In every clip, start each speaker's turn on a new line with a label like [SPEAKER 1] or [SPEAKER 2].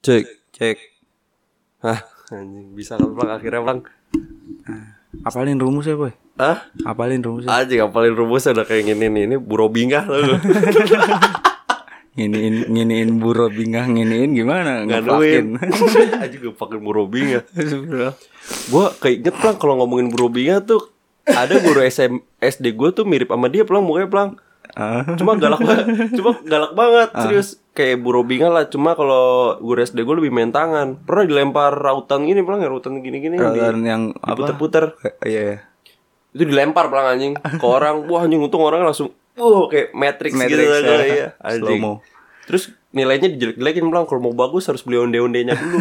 [SPEAKER 1] Cek, cek. Hah, anjing bisa kan bang akhirnya bang.
[SPEAKER 2] Apalin rumusnya boy
[SPEAKER 1] Hah?
[SPEAKER 2] Apalin ya? rumusnya
[SPEAKER 1] Anjing ngapalin rumusnya udah kayak gini nih. Ini buro bingah loh.
[SPEAKER 2] Nginiin nginiin buro bingah nginiin gimana
[SPEAKER 1] Gak duit. Anjing gue pakai buro bingah.
[SPEAKER 2] Astagfirullah.
[SPEAKER 1] Gue keinget Plang kalau ngomongin buro bingah tuh ada guru SM, SD gue tuh mirip sama dia Plang mukanya Plang.
[SPEAKER 2] Ah.
[SPEAKER 1] Cuma galak banget, cuma galak banget serius kayak buro bingah lah. Cuma kalau guru SD gue lebih main tangan. Pernah dilempar rautan gini Plang, ya rautan gini-gini yang di-
[SPEAKER 2] Peralatan yang apa?
[SPEAKER 1] diputer-puter.
[SPEAKER 2] Iya. iya.
[SPEAKER 1] itu dilempar pelang anjing ke orang wah anjing untung orang langsung wah kayak matrix, gitu
[SPEAKER 2] Matrix,
[SPEAKER 1] kan
[SPEAKER 2] ya.
[SPEAKER 1] iya anjing
[SPEAKER 2] Slow-mo.
[SPEAKER 1] terus nilainya dijelek-jelekin pelang kalau mau bagus harus beli onde-ondenya dulu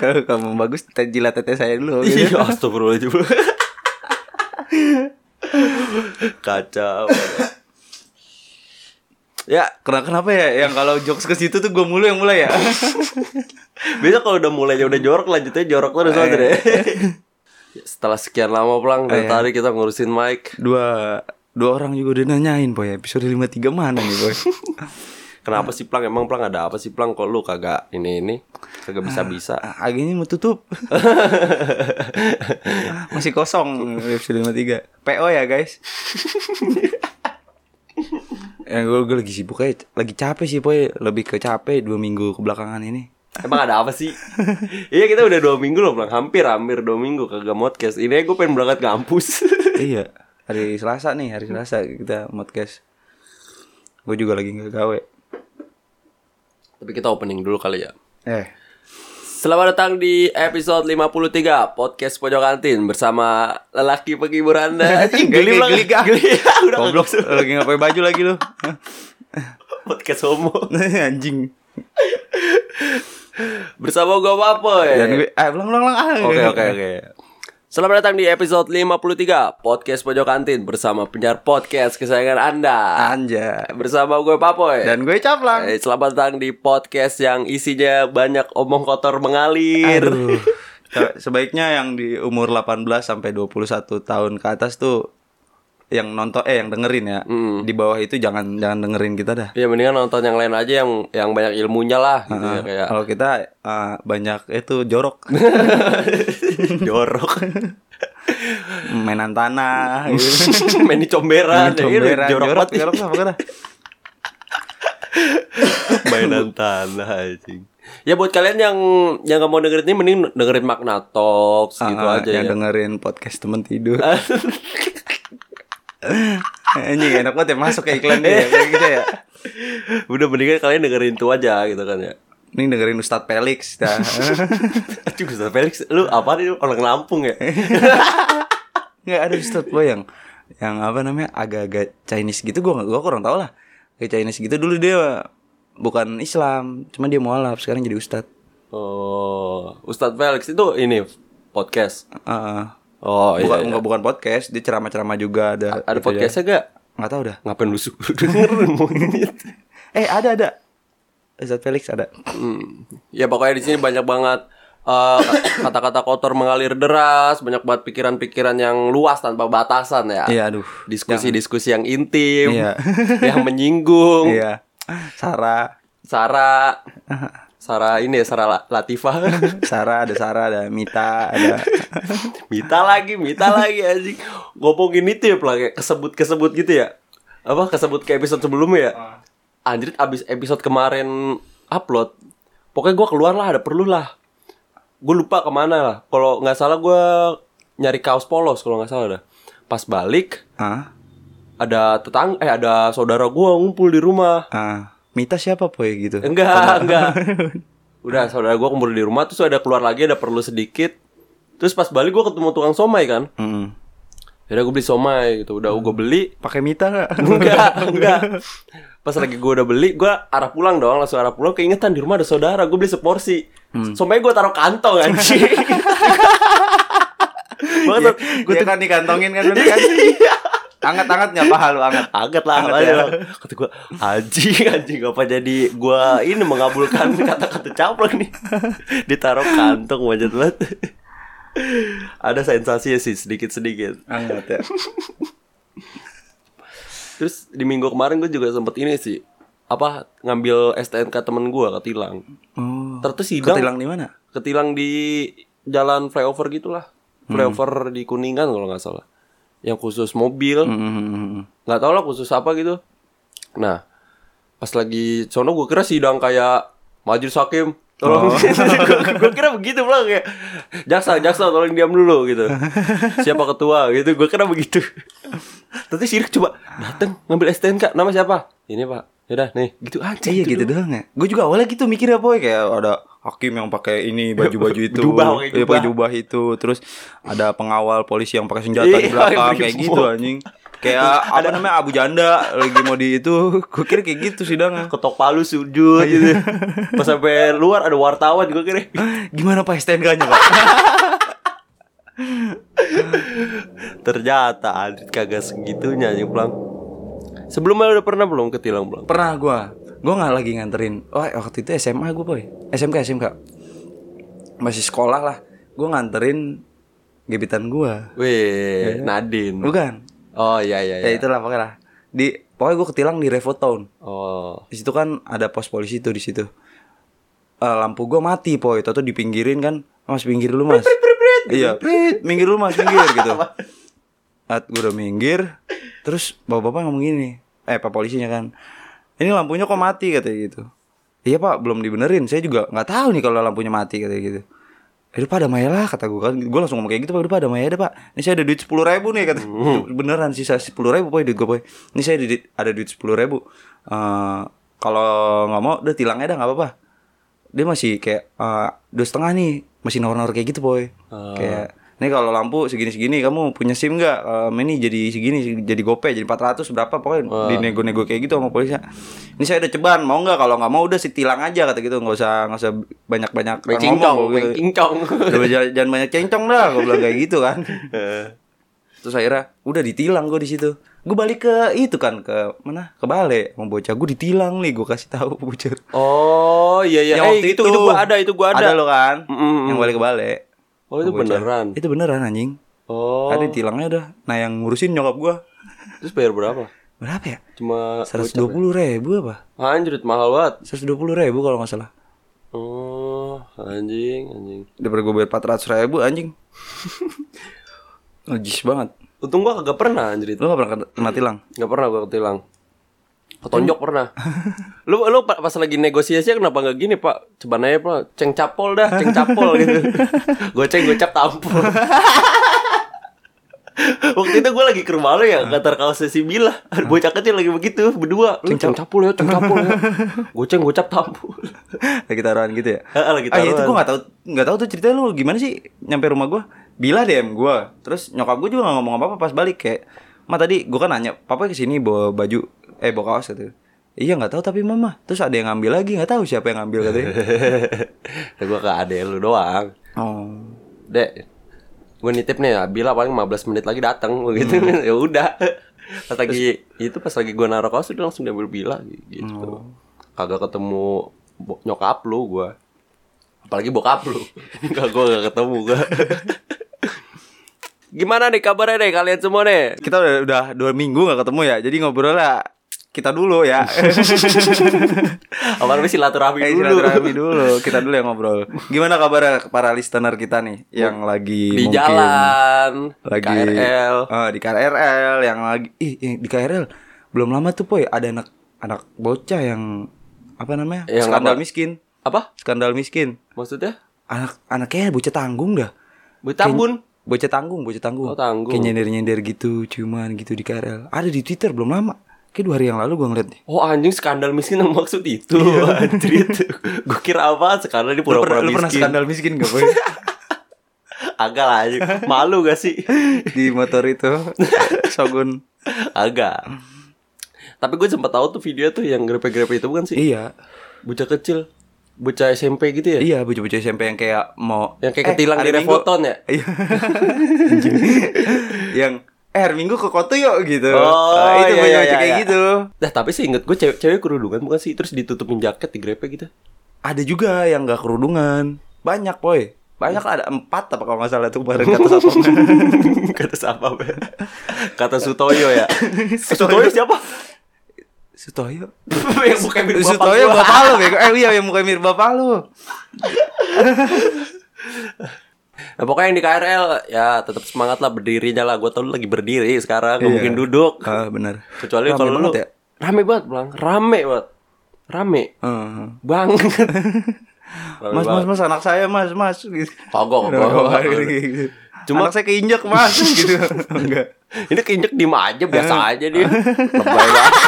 [SPEAKER 2] Kalau kamu bagus te- jilat tete saya dulu. gitu.
[SPEAKER 1] iya astagfirullahaladzim kacau ya
[SPEAKER 2] Kenapa, kenapa ya yang kalau jokes ke situ tuh gue mulu yang mulai ya?
[SPEAKER 1] biasa kalau udah mulainya udah jorok lanjutnya jorok terus aja
[SPEAKER 2] Eh.
[SPEAKER 1] deh setelah sekian lama pelang dari tadi kita ngurusin mic
[SPEAKER 2] dua dua orang juga udah nanyain boy episode 53 mana nih boy?
[SPEAKER 1] kenapa sih pelang emang pelang ada apa sih pelang kok lu kagak ini ini kagak bisa bisa
[SPEAKER 2] Ah, Akhirnya mau tutup. Ah, Masih kosong episode 53. PO ya guys. yang gue, gue Ya, lagi sibuk aja, lagi capek sih boy, lebih ke capek dua minggu kebelakangan ini.
[SPEAKER 1] Emang ada apa sih? iya kita udah dua minggu loh Bang Hampir hampir dua minggu kagak podcast Ini gue pengen berangkat kampus
[SPEAKER 2] iya hari Selasa nih hari Selasa kita podcast gue juga lagi nggak gawe
[SPEAKER 1] Tapi kita opening dulu kali ya
[SPEAKER 2] eh
[SPEAKER 1] Selamat datang di episode 53 Podcast Pojok Kantin Bersama lelaki penghibur anda Ih, Geli Bang.
[SPEAKER 2] geli, geli.
[SPEAKER 1] Geli. Udah
[SPEAKER 2] goblok
[SPEAKER 1] kagak usah.
[SPEAKER 2] lagi Ah, nggak pakai baju lagi lu Hah?
[SPEAKER 1] Podcast homo
[SPEAKER 2] anjing
[SPEAKER 1] Bersama gue Papoy
[SPEAKER 2] dan gue eh ulang ulang ulang ah.
[SPEAKER 1] Oke oke oke Selamat datang di episode 53 Podcast Pojok Kantin Bersama penyiar podcast kesayangan anda
[SPEAKER 2] anja
[SPEAKER 1] Bersama gue Papoy
[SPEAKER 2] dan gue caplang
[SPEAKER 1] Eh, selamat datang di podcast yang isinya banyak omong kotor mengalir.
[SPEAKER 2] Aduh. Se- sebaiknya yang di umur 18 sampai 21 tahun ke atas tuh yang nonton eh yang dengerin ya
[SPEAKER 1] Mm.
[SPEAKER 2] di bawah itu jangan jangan dengerin kita dah
[SPEAKER 1] Ya mendingan nonton yang lain aja yang yang banyak ilmunya lah gitu ya kayak
[SPEAKER 2] kalau kita eh, banyak itu jorok
[SPEAKER 1] jorok.
[SPEAKER 2] mainan tanah gitu.
[SPEAKER 1] Main di comberan, ya, ini
[SPEAKER 2] Comberan,
[SPEAKER 1] jorok,
[SPEAKER 2] jorok,
[SPEAKER 1] banget.
[SPEAKER 2] jorok apa kata?
[SPEAKER 1] Mainan tanah anjing. Ya buat kalian yang yang gak mau dengerin ini mending dengerin Magna Talks gitu
[SPEAKER 2] Ah,
[SPEAKER 1] aja
[SPEAKER 2] yang
[SPEAKER 1] ya.
[SPEAKER 2] dengerin podcast temen tidur. Anjing enak banget ya masuk ke iklan dia ya, kayak gitu ya.
[SPEAKER 1] Udah mendingan kalian dengerin itu aja gitu kan ya.
[SPEAKER 2] Ini dengerin Ustadz Felix dah.
[SPEAKER 1] Aduh, Ustaz Felix, lu apa nih lu? orang Lampung ya?
[SPEAKER 2] Enggak ada Ustadz boy yang yang apa namanya agak-agak Chinese gitu gua gua kurang tahu lah. Kayak Chinese gitu dulu dia bukan Islam, cuma dia mualaf sekarang jadi ustadz.
[SPEAKER 1] Oh, Ustadz Felix itu ini podcast.
[SPEAKER 2] Heeh.
[SPEAKER 1] Oh iya.
[SPEAKER 2] bukan,
[SPEAKER 1] iya.
[SPEAKER 2] bukan bukan podcast, dia ceramah-ceramah juga ada.
[SPEAKER 1] Ada podcastnya gak?
[SPEAKER 2] Enggak tahu dah.
[SPEAKER 1] Ngapain lu su- dengerin monyet?
[SPEAKER 2] Eh, ada ada. Ustadz Felix ada.
[SPEAKER 1] Hmm. Ya pokoknya di sini banyak banget eh, kata-kata kotor mengalir deras, banyak banget pikiran-pikiran yang luas tanpa batasan ya.
[SPEAKER 2] Iya, aduh.
[SPEAKER 1] Diskusi-diskusi yang intim,
[SPEAKER 2] Iya.
[SPEAKER 1] yang menyinggung.
[SPEAKER 2] Iya. Sarah,
[SPEAKER 1] Sarah Sarah ini ya Sarah La- Latifah.
[SPEAKER 2] Sarah ada Sarah ada Mita ada
[SPEAKER 1] Mita lagi, Mita lagi anjing. Ngomongin itu ya Plang, kayak kesebut-kesebut gitu ya. Apa kesebut ke episode sebelumnya ya? Anjir abis episode kemarin upload. Pokoknya gua keluar lah, ada perlu lah. Gue lupa kemana lah. Kalau nggak salah gua nyari kaos polos kalau nggak salah dah. Pas balik
[SPEAKER 2] ah
[SPEAKER 1] ada tetang eh ada saudara gua ngumpul di rumah.
[SPEAKER 2] ah Mita siapa boy gitu
[SPEAKER 1] Enggak, enggak. Udah saudara gua kumpul di rumah terus ada keluar lagi ada perlu sedikit. Terus pas balik gua ketemu tukang somai kan.
[SPEAKER 2] Mm.
[SPEAKER 1] Yaudah gue beli somai gitu Udah gue beli
[SPEAKER 2] pakai Mita nggak
[SPEAKER 1] Enggak Enggak Pas lagi gue udah beli Gue arah pulang dong Langsung arah pulang Keingetan di rumah ada saudara Gue beli seporsi Somai gue taruh kantong anjing Banget
[SPEAKER 2] gue tuh kan dikantongin kan bener kan anget anget nggak paha lu anget
[SPEAKER 1] Angkat lah
[SPEAKER 2] Anget
[SPEAKER 1] lah,
[SPEAKER 2] ya.
[SPEAKER 1] ya. Kata gue Anjing anjing Apa jadi Gue ini mengabulkan Kata-kata caplok nih Ditaruh kantong Wajar banget Ada sensasi sih Sedikit-sedikit
[SPEAKER 2] anget ya
[SPEAKER 1] Terus di minggu kemarin gue juga sempet ini sih apa ngambil STNK temen gua ketilang.
[SPEAKER 2] Oh.
[SPEAKER 1] Terus tuh sidang ketilang.
[SPEAKER 2] Ketilang di mana?
[SPEAKER 1] di jalan flyover gitulah. Flyover di Kuningan kalau nggak salah. Yang khusus mobil.
[SPEAKER 2] Hmm.
[SPEAKER 1] nggak tau lah khusus apa gitu nah pas lagi sono gue kira sidang kayak majelis hakim tolong
[SPEAKER 2] Oh.
[SPEAKER 1] gue kira begitu pulang kayak jaksa jaksa tolong diam dulu gitu siapa ketua gitu gue kira begitu tapi sirik coba dateng ngambil STNK nama siapa ini pak yaudah nih gitu aja
[SPEAKER 2] Iya gitu doang ya. Gue juga awalnya gitu mikirnya boy kayak ada hakim yang pakai ini baju-baju itu,
[SPEAKER 1] Jubah, pakai
[SPEAKER 2] Iya, pakai
[SPEAKER 1] jubah.
[SPEAKER 2] jubah itu, terus ada pengawal polisi yang pakai senjata
[SPEAKER 1] Iya,
[SPEAKER 2] di belakang
[SPEAKER 1] pakai
[SPEAKER 2] kayak
[SPEAKER 1] brimob.
[SPEAKER 2] gitu anjing. Kayak ada namanya Abu Janda lagi mau di itu, gue kira kayak gitu sidangnya.
[SPEAKER 1] ketok palu sujud gitu pas sampai luar ada wartawan gue kira
[SPEAKER 2] Gimana Pak STNK-nya Pak?
[SPEAKER 1] ternyata Adit kagak segitunya aja pulang sebelumnya udah pernah belum ketilang pulang
[SPEAKER 2] Pernah gue, gue nggak lagi nganterin. Oh waktu itu SMA gue boy, SMK SMK masih sekolah lah. Gue nganterin gebetan gue,
[SPEAKER 1] Wih, Nadine.
[SPEAKER 2] bukan?
[SPEAKER 1] Oh iya iya.
[SPEAKER 2] Ya
[SPEAKER 1] iya.
[SPEAKER 2] itulah pokoknya lah. Di pokoknya gue ketilang di Revo Town.
[SPEAKER 1] Oh.
[SPEAKER 2] di situ kan ada pos polisi tuh di situ Eh, lampu gua mati po itu tuh dipinggirin kan mas pinggir lu mas iya prit, minggir lu mas minggir gitu at gua udah minggir terus bapak bapak ngomong gini eh pak polisinya kan ini lampunya kok mati katanya gitu iya pak belum dibenerin saya juga nggak tahu nih kalau lampunya mati katanya gitu Eh udah pada maya lah kata gue kan Gue langsung ngomong kayak gitu Pak Udah pada maya deh pak Ini saya ada duit 10 ribu nih kata Beneran sisa 10 ribu boy duit gue boy Ini saya ada duit, ada duit 10 ribu Eh, Kalau nggak mau udah tilangnya dah nggak apa-apa Dia masih kayak eh, Dua setengah nih Masih nawar-nawar kayak gitu boy
[SPEAKER 1] Ah.
[SPEAKER 2] Kayak Nih kalau lampu segini-segini Kamu punya SIM nggak? Eh, ini jadi segini Jadi gope Jadi 400 berapa Pokoknya dinego-nego kayak gitu sama polisi Ini saya udah ceban Mau nggak? Kalau nggak mau udah si tilang aja kata gitu Nggak usah nggak usah banyak-banyak
[SPEAKER 1] Cingcong,
[SPEAKER 2] gua gitu.
[SPEAKER 1] cingcong.
[SPEAKER 2] Coba jangan, jangan banyak cengcong dah, gue bilang kayak gitu kan.
[SPEAKER 1] Eh.
[SPEAKER 2] Terus akhirnya udah ditilang gue di situ. Gue balik ke itu kan ke mana? Ke Bale. Mau bocah gue ditilang nih, gue kasih tahu bocah.
[SPEAKER 1] Oh iya iya.
[SPEAKER 2] Yang
[SPEAKER 1] Eh, itu, itu gua ada, itu gua ada.
[SPEAKER 2] Ada lo kan?
[SPEAKER 1] Mm-mm.
[SPEAKER 2] Yang balik ke Bale.
[SPEAKER 1] Oh, itu
[SPEAKER 2] Sama bocah.
[SPEAKER 1] beneran?
[SPEAKER 2] Mm. Itu beneran anjing.
[SPEAKER 1] Oh.
[SPEAKER 2] Ada tilangnya udah. Nah yang ngurusin nyokap gue
[SPEAKER 1] Terus bayar berapa?
[SPEAKER 2] berapa ya?
[SPEAKER 1] Cuma
[SPEAKER 2] 120 ribu apa?
[SPEAKER 1] anjrit mahal banget.
[SPEAKER 2] 120 ribu kalau nggak salah.
[SPEAKER 1] Oh, anjing, anjing.
[SPEAKER 2] Daripada gue bayar 400 ribu anjing. Najis banget.
[SPEAKER 1] Untung gua kagak pernah anjrit.
[SPEAKER 2] Lo gak pernah kena tilang?
[SPEAKER 1] Gak pernah gua ketilang. Ketonjok pernah. Lu lu pa- pas lagi negosiasi kenapa nggak gini, Pak? Coba nanya, Pak. Ceng capol dah, ceng capol gitu. Goceng gocap tampol. Waktu itu gue lagi ke rumah lo ya Kantor kaos sesi bila Ada bocah kecil lagi begitu Berdua Lu ceng capul ya Ceng capul ya Goceng gocap tampul
[SPEAKER 2] lagi taruhan gitu ya?
[SPEAKER 1] Heeh, lagi
[SPEAKER 2] Ah, ya itu
[SPEAKER 1] taruhan.
[SPEAKER 2] gue gak tau, gak tau tuh ceritanya lu gimana sih nyampe rumah gue. Bila DM gue, terus nyokap gue juga gak ngomong apa-apa pas balik kayak, Ma tadi gue kan nanya, papa kesini bawa baju, eh bawa kaos gitu. Iya gak tahu tapi mama, terus ada yang ngambil lagi gak tahu siapa yang ngambil katanya.
[SPEAKER 1] ya, Gue ke ade lu doang
[SPEAKER 2] oh.
[SPEAKER 1] Dek Gue nitip nih ya Bila paling 15 menit lagi datang Gua gitu
[SPEAKER 2] Hmm.
[SPEAKER 1] ya udah Pas lagi Itu pas lagi gue naruh kaos Udah langsung diambil Bila
[SPEAKER 2] Oh.
[SPEAKER 1] gitu Kagak ketemu bo- Nyokap lu gue Apalagi bokap lu Enggak gue gak ketemu gue Gimana nih kabarnya deh kalian semua nih
[SPEAKER 2] Kita udah, udah dua minggu gak ketemu ya, jadi ngobrolnya kita dulu ya.
[SPEAKER 1] Awalnya silaturahmi Iya,
[SPEAKER 2] Eh,
[SPEAKER 1] dulu
[SPEAKER 2] silaturahmi dulu, kita dulu yang ngobrol. Gimana kabar para listener kita nih yang lagi
[SPEAKER 1] Di
[SPEAKER 2] mungkin-
[SPEAKER 1] jalan
[SPEAKER 2] lagi
[SPEAKER 1] KRL
[SPEAKER 2] Ah, di KRL yang lagi ih ih, di KRL belum lama tuh poy ada anak anak bocah yang apa namanya
[SPEAKER 1] Yang
[SPEAKER 2] skandal
[SPEAKER 1] apa?
[SPEAKER 2] miskin
[SPEAKER 1] Apa?
[SPEAKER 2] skandal miskin
[SPEAKER 1] Maksudnya?
[SPEAKER 2] anak anaknya bocah tanggung dah
[SPEAKER 1] Betambun
[SPEAKER 2] bocah tanggung bocah tanggung
[SPEAKER 1] Oh, tanggung.
[SPEAKER 2] kayak nyender nyender gitu cuman gitu di KRL ada di Twitter belum lama kayak dua hari yang lalu gua ngeliat deh
[SPEAKER 1] Oh anjing skandal miskin yang maksud itu Anjrit Gue kira apa skandal ini
[SPEAKER 2] Iya. lu, pernah,
[SPEAKER 1] pura-pura
[SPEAKER 2] lu pernah
[SPEAKER 1] miskin
[SPEAKER 2] skandal miskin gak boy
[SPEAKER 1] Agak lah anjing Malu gak sih?
[SPEAKER 2] di motor itu Shogun
[SPEAKER 1] Agak Tapi gue sempat tahu tuh video tuh yang grepe-grepe itu bukan sih?
[SPEAKER 2] iya
[SPEAKER 1] Bocah kecil Bocah SMP gitu ya?
[SPEAKER 2] Iya, bocah-bocah SMP yang kayak mau Eh,
[SPEAKER 1] Yang kayak ketilang
[SPEAKER 2] hari
[SPEAKER 1] di
[SPEAKER 2] Minggu-
[SPEAKER 1] Revoton ya?
[SPEAKER 2] Iya. Anjing. yang eh hari Minggu ke Koto yuk gitu.
[SPEAKER 1] Oh,
[SPEAKER 2] Ah, itu
[SPEAKER 1] iya,
[SPEAKER 2] bocah-bocah
[SPEAKER 1] iya,
[SPEAKER 2] kayak
[SPEAKER 1] iya.
[SPEAKER 2] gitu.
[SPEAKER 1] Nah tapi sih inget gue cewek, cewek kerudungan bukan sih? Terus ditutupin jaket di grepe gitu
[SPEAKER 2] Ada juga yang gak kerudungan. Banyak, boy. Banyak ada empat apa kalau nggak salah tuh kemarin kata siapa?
[SPEAKER 1] Kata siapa? Be? Kata Sutoyo ya? Sutoyo siapa?
[SPEAKER 2] Sutoyo
[SPEAKER 1] yang bukan mirip bapak
[SPEAKER 2] Sutoyo
[SPEAKER 1] gua.
[SPEAKER 2] bapak lu bego. Eh iya yang mukanya mirip bapak lu.
[SPEAKER 1] Nah, pokoknya yang di KRL ya tetap semangat lah berdirinya lah. Gue tau lu lagi berdiri sekarang, nggak
[SPEAKER 2] Iya.
[SPEAKER 1] mungkin duduk.
[SPEAKER 2] Ah benar.
[SPEAKER 1] Kecuali
[SPEAKER 2] Rame
[SPEAKER 1] kalau lu
[SPEAKER 2] banget ya.
[SPEAKER 1] rame banget, Bang. Rame banget. Rame
[SPEAKER 2] Heeh.
[SPEAKER 1] banget. Rame
[SPEAKER 2] Mas, mas,
[SPEAKER 1] banget.
[SPEAKER 2] mas, anak saya, mas, mas, gitu.
[SPEAKER 1] Kogok,
[SPEAKER 2] Anak
[SPEAKER 1] kogok.
[SPEAKER 2] saya, gitu.
[SPEAKER 1] Cuma-
[SPEAKER 2] anak saya keinjek, mas, gitu. Enggak.
[SPEAKER 1] Ini keinjek diem aja
[SPEAKER 2] Eh.
[SPEAKER 1] biasa aja dia. Lebay banget.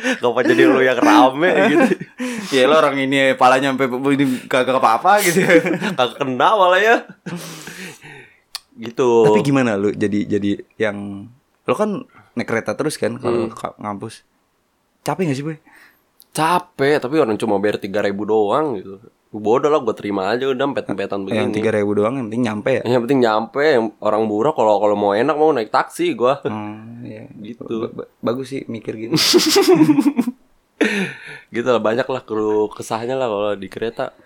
[SPEAKER 1] Kenapa jadi lu yang rame gitu?
[SPEAKER 2] Ya lo orang ini palanya sampai be- ini kagak apa-apa gitu.
[SPEAKER 1] Kagak kena malah ya. Gitu.
[SPEAKER 2] Tapi gimana lu jadi jadi yang lo kan naik kereta terus kan kalau ka- ngampus. Capek gak sih, Boy?
[SPEAKER 1] capek tapi orang cuma bayar tiga ribu doang gitu bodoh lah gue terima aja udah pet petan
[SPEAKER 2] Yang
[SPEAKER 1] begini
[SPEAKER 2] 3000 doang yang penting nyampe ya.
[SPEAKER 1] yang penting nyampe yang orang murah kalau kalau mau enak mau naik taksi gue
[SPEAKER 2] Hmm, ya.
[SPEAKER 1] Gitu.
[SPEAKER 2] Ba- ba- bagus sih mikir gitu.
[SPEAKER 1] gitu lah banyak lah kru kesahnya lah kalau di kereta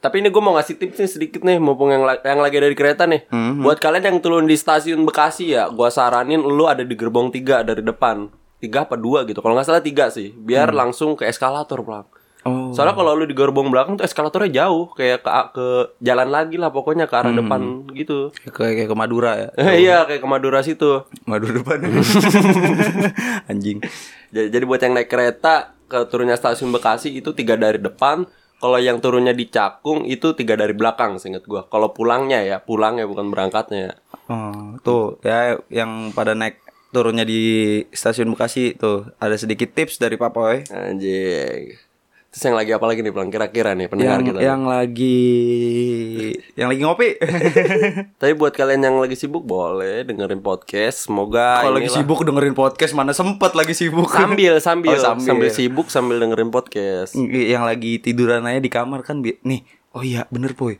[SPEAKER 1] tapi ini gue mau ngasih tips nih sedikit nih mumpung yang, la- yang lagi ada di kereta nih buat kalian yang turun di stasiun Bekasi ya gue saranin lu ada di gerbong tiga dari depan tiga apa dua gitu kalau nggak salah tiga sih biar langsung ke eskalator pelang
[SPEAKER 2] Oh.
[SPEAKER 1] Soalnya kalau lu di gerbong belakang tuh eskalatornya jauh kayak ke, ke jalan lagi lah pokoknya ke arah depan gitu.
[SPEAKER 2] Kayak kayak ke Madura ya.
[SPEAKER 1] Iya kayak ke Madura situ.
[SPEAKER 2] Madura depan. Anjing.
[SPEAKER 1] Jadi, jadi buat yang naik kereta ke turunnya stasiun Bekasi itu tiga dari depan. Kalau yang turunnya di Cakung itu tiga dari belakang, seinget gua. Kalau pulangnya ya, pulangnya bukan berangkatnya.
[SPEAKER 2] Oh, tuh ya yang pada naik turunnya di stasiun Bekasi tuh ada sedikit tips dari Pak Poy.
[SPEAKER 1] Anjing. Terus yang lagi apa lagi nih, Bang? Kira-kira nih pendengar
[SPEAKER 2] Yang
[SPEAKER 1] kita.
[SPEAKER 2] yang lagi yang lagi ngopi.
[SPEAKER 1] Tapi buat kalian yang lagi sibuk boleh dengerin podcast. Semoga
[SPEAKER 2] Kalau lagi
[SPEAKER 1] inilah-
[SPEAKER 2] sibuk dengerin podcast mana sempet lagi sibuk.
[SPEAKER 1] sambil sambil,
[SPEAKER 2] Oh,
[SPEAKER 1] sambil
[SPEAKER 2] sambil.
[SPEAKER 1] sibuk sambil dengerin podcast.
[SPEAKER 2] yang lagi tiduran aja di kamar kan bi- nih. Oh iya, bener Poy.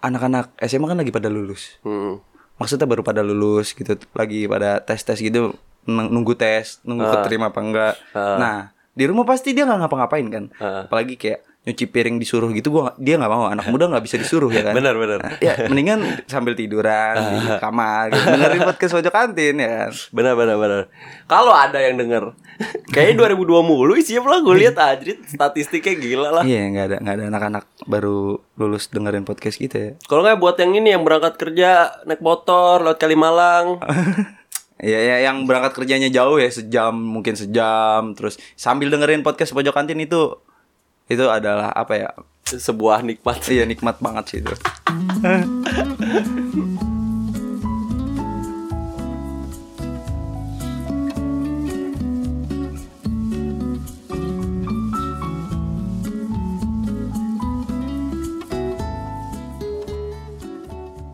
[SPEAKER 2] Anak-anak SMA kan lagi pada lulus.
[SPEAKER 1] Hmm.
[SPEAKER 2] Maksudnya baru pada lulus gitu, lagi pada tes-tes gitu neng- nunggu tes, nunggu
[SPEAKER 1] Ah.
[SPEAKER 2] keterima apa enggak. Nah, di rumah pasti dia nggak ngapa-ngapain kan.
[SPEAKER 1] Ah.
[SPEAKER 2] Apalagi kayak nyuci piring disuruh gitu gua nggak- dia nggak mau. Anak muda nggak bisa disuruh ya kan.
[SPEAKER 1] Benar, Ah. benar.
[SPEAKER 2] Nah, ya, mendingan sambil tiduran di kamar gitu, dengerin podcast pojok kantin ya kan.
[SPEAKER 1] Benar benar benar. Kalau ada yang denger, kayaknya 2002 mulu isinya pula gue lihat Ajrit statistiknya gila lah.
[SPEAKER 2] Iya, nggak ada nggak ada anak-anak baru lulus dengerin podcast kita ya.
[SPEAKER 1] Kalau nggak buat yang ini yang berangkat kerja naik motor lewat Kalimalang.
[SPEAKER 2] Ya, ya, yang berangkat kerjanya jauh ya sejam mungkin sejam terus sambil dengerin podcast pojok kantin itu itu adalah apa ya
[SPEAKER 1] Sebuah nikmat.
[SPEAKER 2] Iya nikmat banget sih itu.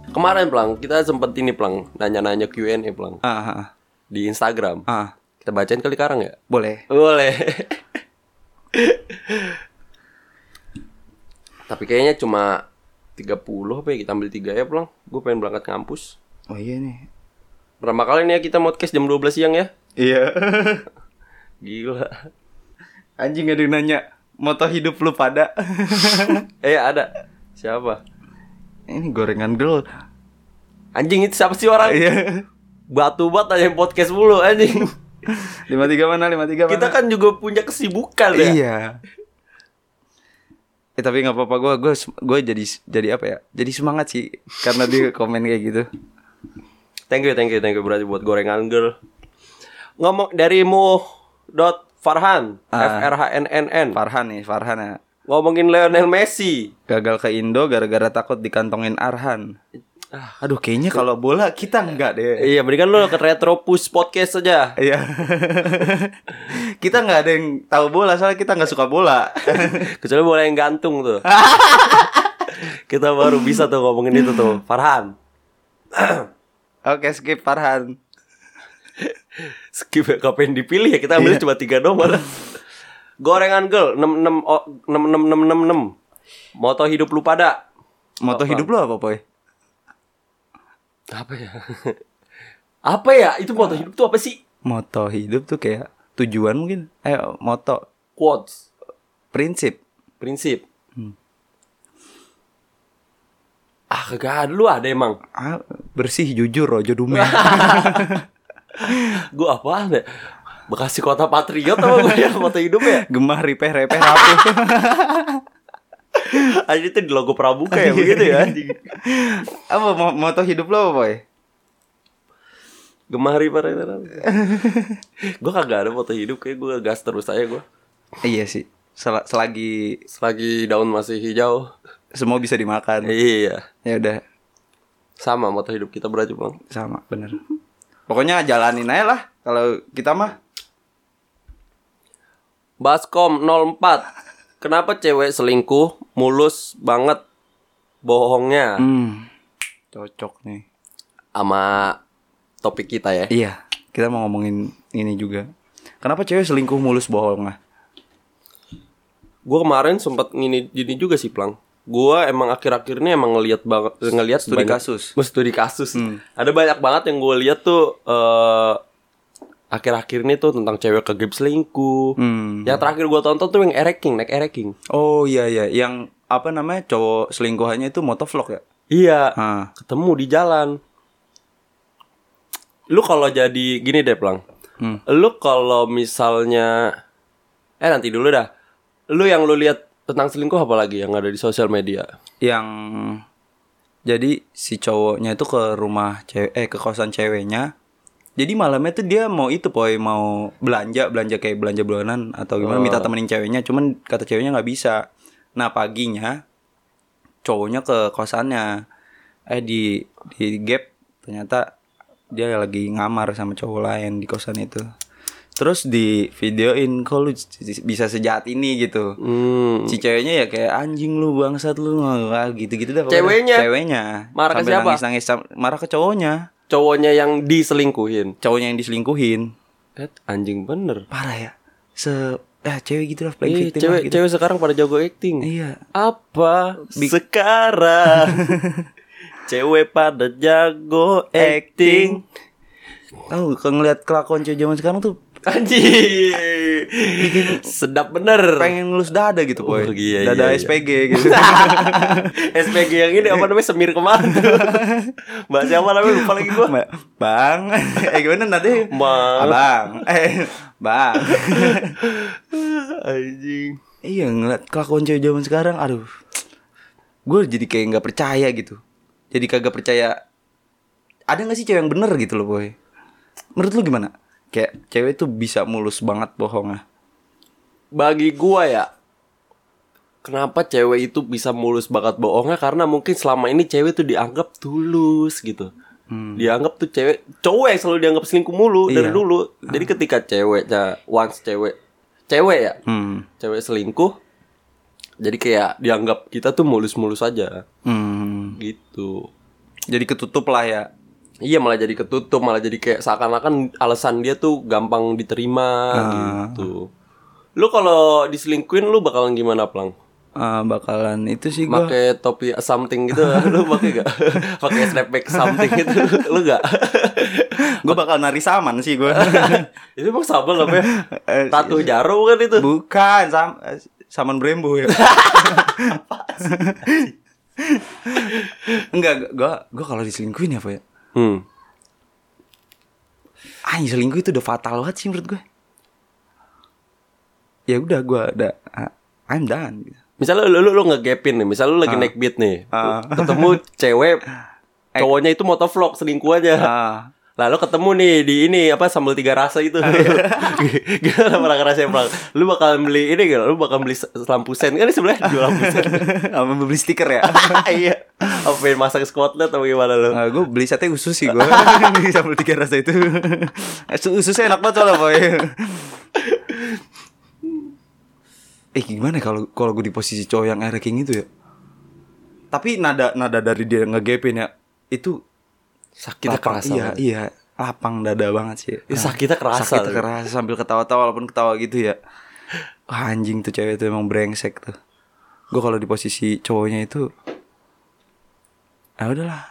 [SPEAKER 1] Kemarin Plang, kita sempet ini Plang nanya-nanya Q&A Plang
[SPEAKER 2] Ah, ah,
[SPEAKER 1] di Instagram.
[SPEAKER 2] ah.
[SPEAKER 1] Kita bacain kali karang ya?
[SPEAKER 2] boleh.
[SPEAKER 1] Boleh. Tapi kayaknya cuma 30 apa ya kita ambil 3 ya Plang. Gue pengen berangkat kampus.
[SPEAKER 2] Oh iya nih.
[SPEAKER 1] Berapa kali nih ya kita podcast jam 12 siang ya?
[SPEAKER 2] Iya.
[SPEAKER 1] Gila.
[SPEAKER 2] Anjing ada yang nanya moto hidup lu pada.
[SPEAKER 1] Eh ada. Siapa?
[SPEAKER 2] Ini gorengan girl.
[SPEAKER 1] Anjing itu siapa sih orang?
[SPEAKER 2] Iya.
[SPEAKER 1] Batu bat aja podcast mulu anjing.
[SPEAKER 2] Lima tiga mana? Lima tiga mana?
[SPEAKER 1] Kita kan juga punya kesibukan ya.
[SPEAKER 2] Iya. Eh tapi nggak apa-apa gue gue gue jadi jadi apa ya? Jadi semangat sih karena dia komen kayak gitu.
[SPEAKER 1] Thank you, thank you, thank you berarti buat gorengan girl. Ngomong dari mu dot Farhan, F R H N N N.
[SPEAKER 2] Farhan nih Farhan ya.
[SPEAKER 1] Ngomongin Lionel Messi.
[SPEAKER 2] Gagal ke Indo gara-gara takut dikantongin Arhan. Ah, Aduh kayaknya kalau bola kita enggak deh.
[SPEAKER 1] Iya, berikan lo ke Retropus podcast saja.
[SPEAKER 2] Iya. kita nggak ada yang tahu bola soalnya kita nggak suka bola.
[SPEAKER 1] Kecuali bola yang gantung tuh. Kita baru bisa tuh ngomongin itu tuh, Farhan.
[SPEAKER 2] Oke skip Farhan.
[SPEAKER 1] Skip ya, kapan dipilih ya kita ambil cuma tiga nomor. Gorengan girl 66 enam enam enam enam enam. Moto hidup lu pada
[SPEAKER 2] Moto hidup lo apa poy?
[SPEAKER 1] apa ya? apa ya? Itu moto hidup tuh apa sih?
[SPEAKER 2] Moto hidup tuh kayak tujuan mungkin. Eh moto
[SPEAKER 1] Quotes,
[SPEAKER 2] prinsip.
[SPEAKER 1] prinsip. Ah, kagak ada. lu ada emang.
[SPEAKER 2] Ah, bersih jujur rojo dumel.
[SPEAKER 1] Gua apa ada? ya? Bekasi Kota Patriot apa gue yang foto hidup ya?
[SPEAKER 2] Gemah repair repair rapuh.
[SPEAKER 1] Anjir itu di logo
[SPEAKER 2] Iya,
[SPEAKER 1] Pramuka ya begitu ya anjing.
[SPEAKER 2] apa mo- moto hidup lo apa, boy?
[SPEAKER 1] Gemari para Gue kagak ada foto hidup kayak gue gas terus aja gue.
[SPEAKER 2] iya sih. Sel- selagi
[SPEAKER 1] Selagi daun masih hijau.
[SPEAKER 2] semua bisa dimakan.
[SPEAKER 1] Iya.
[SPEAKER 2] Ya udah,
[SPEAKER 1] Sama moto hidup kita berarti bang.
[SPEAKER 2] sama bener. Pokoknya jalanin aja lah kalau kita mah.
[SPEAKER 1] Baskom 04. Kenapa cewek selingkuh mulus banget bohongnya
[SPEAKER 2] Hmm. Cocok nih.
[SPEAKER 1] sama topik kita ya?
[SPEAKER 2] Iya, kita mau ngomongin ini juga. Kenapa cewek selingkuh mulus bohong ah?
[SPEAKER 1] Gue kemarin sempat ngini gini juga sih Plang. Gue emang akhir-akhir ini emang ngelihat banget ngelihat
[SPEAKER 2] Studi
[SPEAKER 1] banyak-
[SPEAKER 2] kasus. Hmm.
[SPEAKER 1] Mas, Studi kasus. Ada banyak banget yang gue lihat tuh eh, akhir-akhir ini tuh tentang cewek kegep selingkuh.
[SPEAKER 2] Hmm.
[SPEAKER 1] Yang terakhir gue tonton tuh yang ereking, naik ereking.
[SPEAKER 2] Oh iya iya, yang apa namanya cowok selingkuhannya itu motovlog ya?
[SPEAKER 1] Iya,
[SPEAKER 2] Ah.
[SPEAKER 1] ketemu di jalan. Lu kalau jadi gini deh, Plang.
[SPEAKER 2] Hmm.
[SPEAKER 1] Lu kalau misalnya eh nanti dulu dah. Lu yang lu lihat tentang selingkuh apa lagi yang ada di sosial media?
[SPEAKER 2] Yang jadi si cowoknya itu ke rumah cewek eh ke kosan ceweknya. Jadi malamnya tuh dia mau itu poi mau belanja belanja kayak belanja bulanan atau gimana minta temenin ceweknya, cuman kata ceweknya nggak bisa. Nah paginya cowoknya ke kosannya eh di di gap ternyata dia lagi ngamar sama cowok lain di kosan itu terus di videoin kok lu j- bisa sejahat ini gitu
[SPEAKER 1] Hmm.
[SPEAKER 2] si ceweknya ya kayak anjing lu bangsat lu wah gitu gitu dah pokoknya.
[SPEAKER 1] Ceweknya?
[SPEAKER 2] ceweknya
[SPEAKER 1] Marah ke
[SPEAKER 2] Sambil
[SPEAKER 1] siapa?
[SPEAKER 2] nangis nangis sam- marah ke cowoknya
[SPEAKER 1] Cowoknya yang diselingkuhin.
[SPEAKER 2] cowoknya yang diselingkuhin
[SPEAKER 1] Eh, anjing bener.
[SPEAKER 2] parah ya se eh cewek gitu lah playing
[SPEAKER 1] Ih,
[SPEAKER 2] victim lah
[SPEAKER 1] Iya, cewek
[SPEAKER 2] gitu.
[SPEAKER 1] cewek sekarang pada jago acting.
[SPEAKER 2] iya
[SPEAKER 1] Apa sekarang? cewek pada jago acting.
[SPEAKER 2] tahu kalau ngeliat kelakuan cewek zaman sekarang tuh
[SPEAKER 1] Anjing. Sedap bener.
[SPEAKER 2] pengen ngelus dada gitu boy
[SPEAKER 1] Oh, iya,
[SPEAKER 2] dada
[SPEAKER 1] iya, iya.
[SPEAKER 2] SPG gitu
[SPEAKER 1] SPG yang ini apa namanya semir kemarin tuh. Mbak siapa namanya lupa lagi gua.
[SPEAKER 2] Ba- bang eh gimana nanti
[SPEAKER 1] Bang.
[SPEAKER 2] abang eh bang
[SPEAKER 1] Anjing.
[SPEAKER 2] iya ngeliat kelakuan cewek zaman sekarang aduh gue jadi kayak nggak percaya gitu jadi kagak percaya ada nggak sih cewek yang bener gitu loh boy menurut lu gimana kayak cewek tuh bisa mulus banget bohongnya
[SPEAKER 1] Bagi gua ya Kenapa cewek itu bisa mulus bakat bohongnya Karena mungkin selama ini cewek tuh dianggap tulus gitu Dianggap tuh cewek Cowok yang selalu dianggap selingkuh mulu Dari
[SPEAKER 2] Iya.
[SPEAKER 1] dulu Jadi ketika cewek ya, Once cewek Cewek ya
[SPEAKER 2] hmm
[SPEAKER 1] Cewek selingkuh Jadi kayak dianggap kita tuh mulus-mulus aja
[SPEAKER 2] hmm
[SPEAKER 1] Gitu
[SPEAKER 2] jadi ketutup lah ya
[SPEAKER 1] Iya malah jadi ketutup malah jadi kayak seakan-akan alasan dia tuh gampang diterima
[SPEAKER 2] Ah.
[SPEAKER 1] gitu. Lu kalau diselingkuin lu bakalan gimana plang?
[SPEAKER 2] Eh, bakalan itu sih gue
[SPEAKER 1] Pakai topi something gitu lu pakai gak? pakai snapback something gitu lu gak?
[SPEAKER 2] gue bakal nari saman sih gue
[SPEAKER 1] itu emang sabar namanya
[SPEAKER 2] Eh,
[SPEAKER 1] Tato jarum kan itu.
[SPEAKER 2] bukan sam eh, saman brembo ya enggak gue gue kalau diselingkuhin apa ya
[SPEAKER 1] Hmm.
[SPEAKER 2] ah selingkuh itu udah fatal banget sih menurut gue ya udah gue udah ah, I'm done gitu.
[SPEAKER 1] Misalnya lu lu, lu ngegapin nih, misalnya lu lagi naik beat nih.
[SPEAKER 2] Ah.
[SPEAKER 1] Ketemu cewek cowoknya itu motovlog selingkuh aja.
[SPEAKER 2] Ah,
[SPEAKER 1] Lalu ketemu nih di ini apa sambal tiga rasa itu. Gimana pernah ngerasain Plang? Lu bakal beli ini gak? Lu bakal beli s- lampu sen kan ini sebenarnya jual lampu sen.
[SPEAKER 2] sama beli stiker ya
[SPEAKER 1] iya. Apa pengen masak skotlet atau gimana lu?
[SPEAKER 2] gue Ah, beli sate usus sih gue Di sambal tiga rasa itu Eh, Su- Ususnya enak banget soalnya boy Eh gimana kalau kalau gue di posisi cowok yang ereking itu ya Tapi nada nada dari dia ngegepin ya Itu
[SPEAKER 1] Sakitnya
[SPEAKER 2] lapang-
[SPEAKER 1] kerasa.
[SPEAKER 2] Iya
[SPEAKER 1] banget.
[SPEAKER 2] iya Lapang dada banget sih
[SPEAKER 1] Ih, sakitnya kerasa.
[SPEAKER 2] Sakitnya kerasa sambil ketawa-tawa walaupun ketawa gitu ya Wah, anjing tuh cewek itu emang brengsek tuh Gue kalau di posisi cowoknya itu Ah udahlah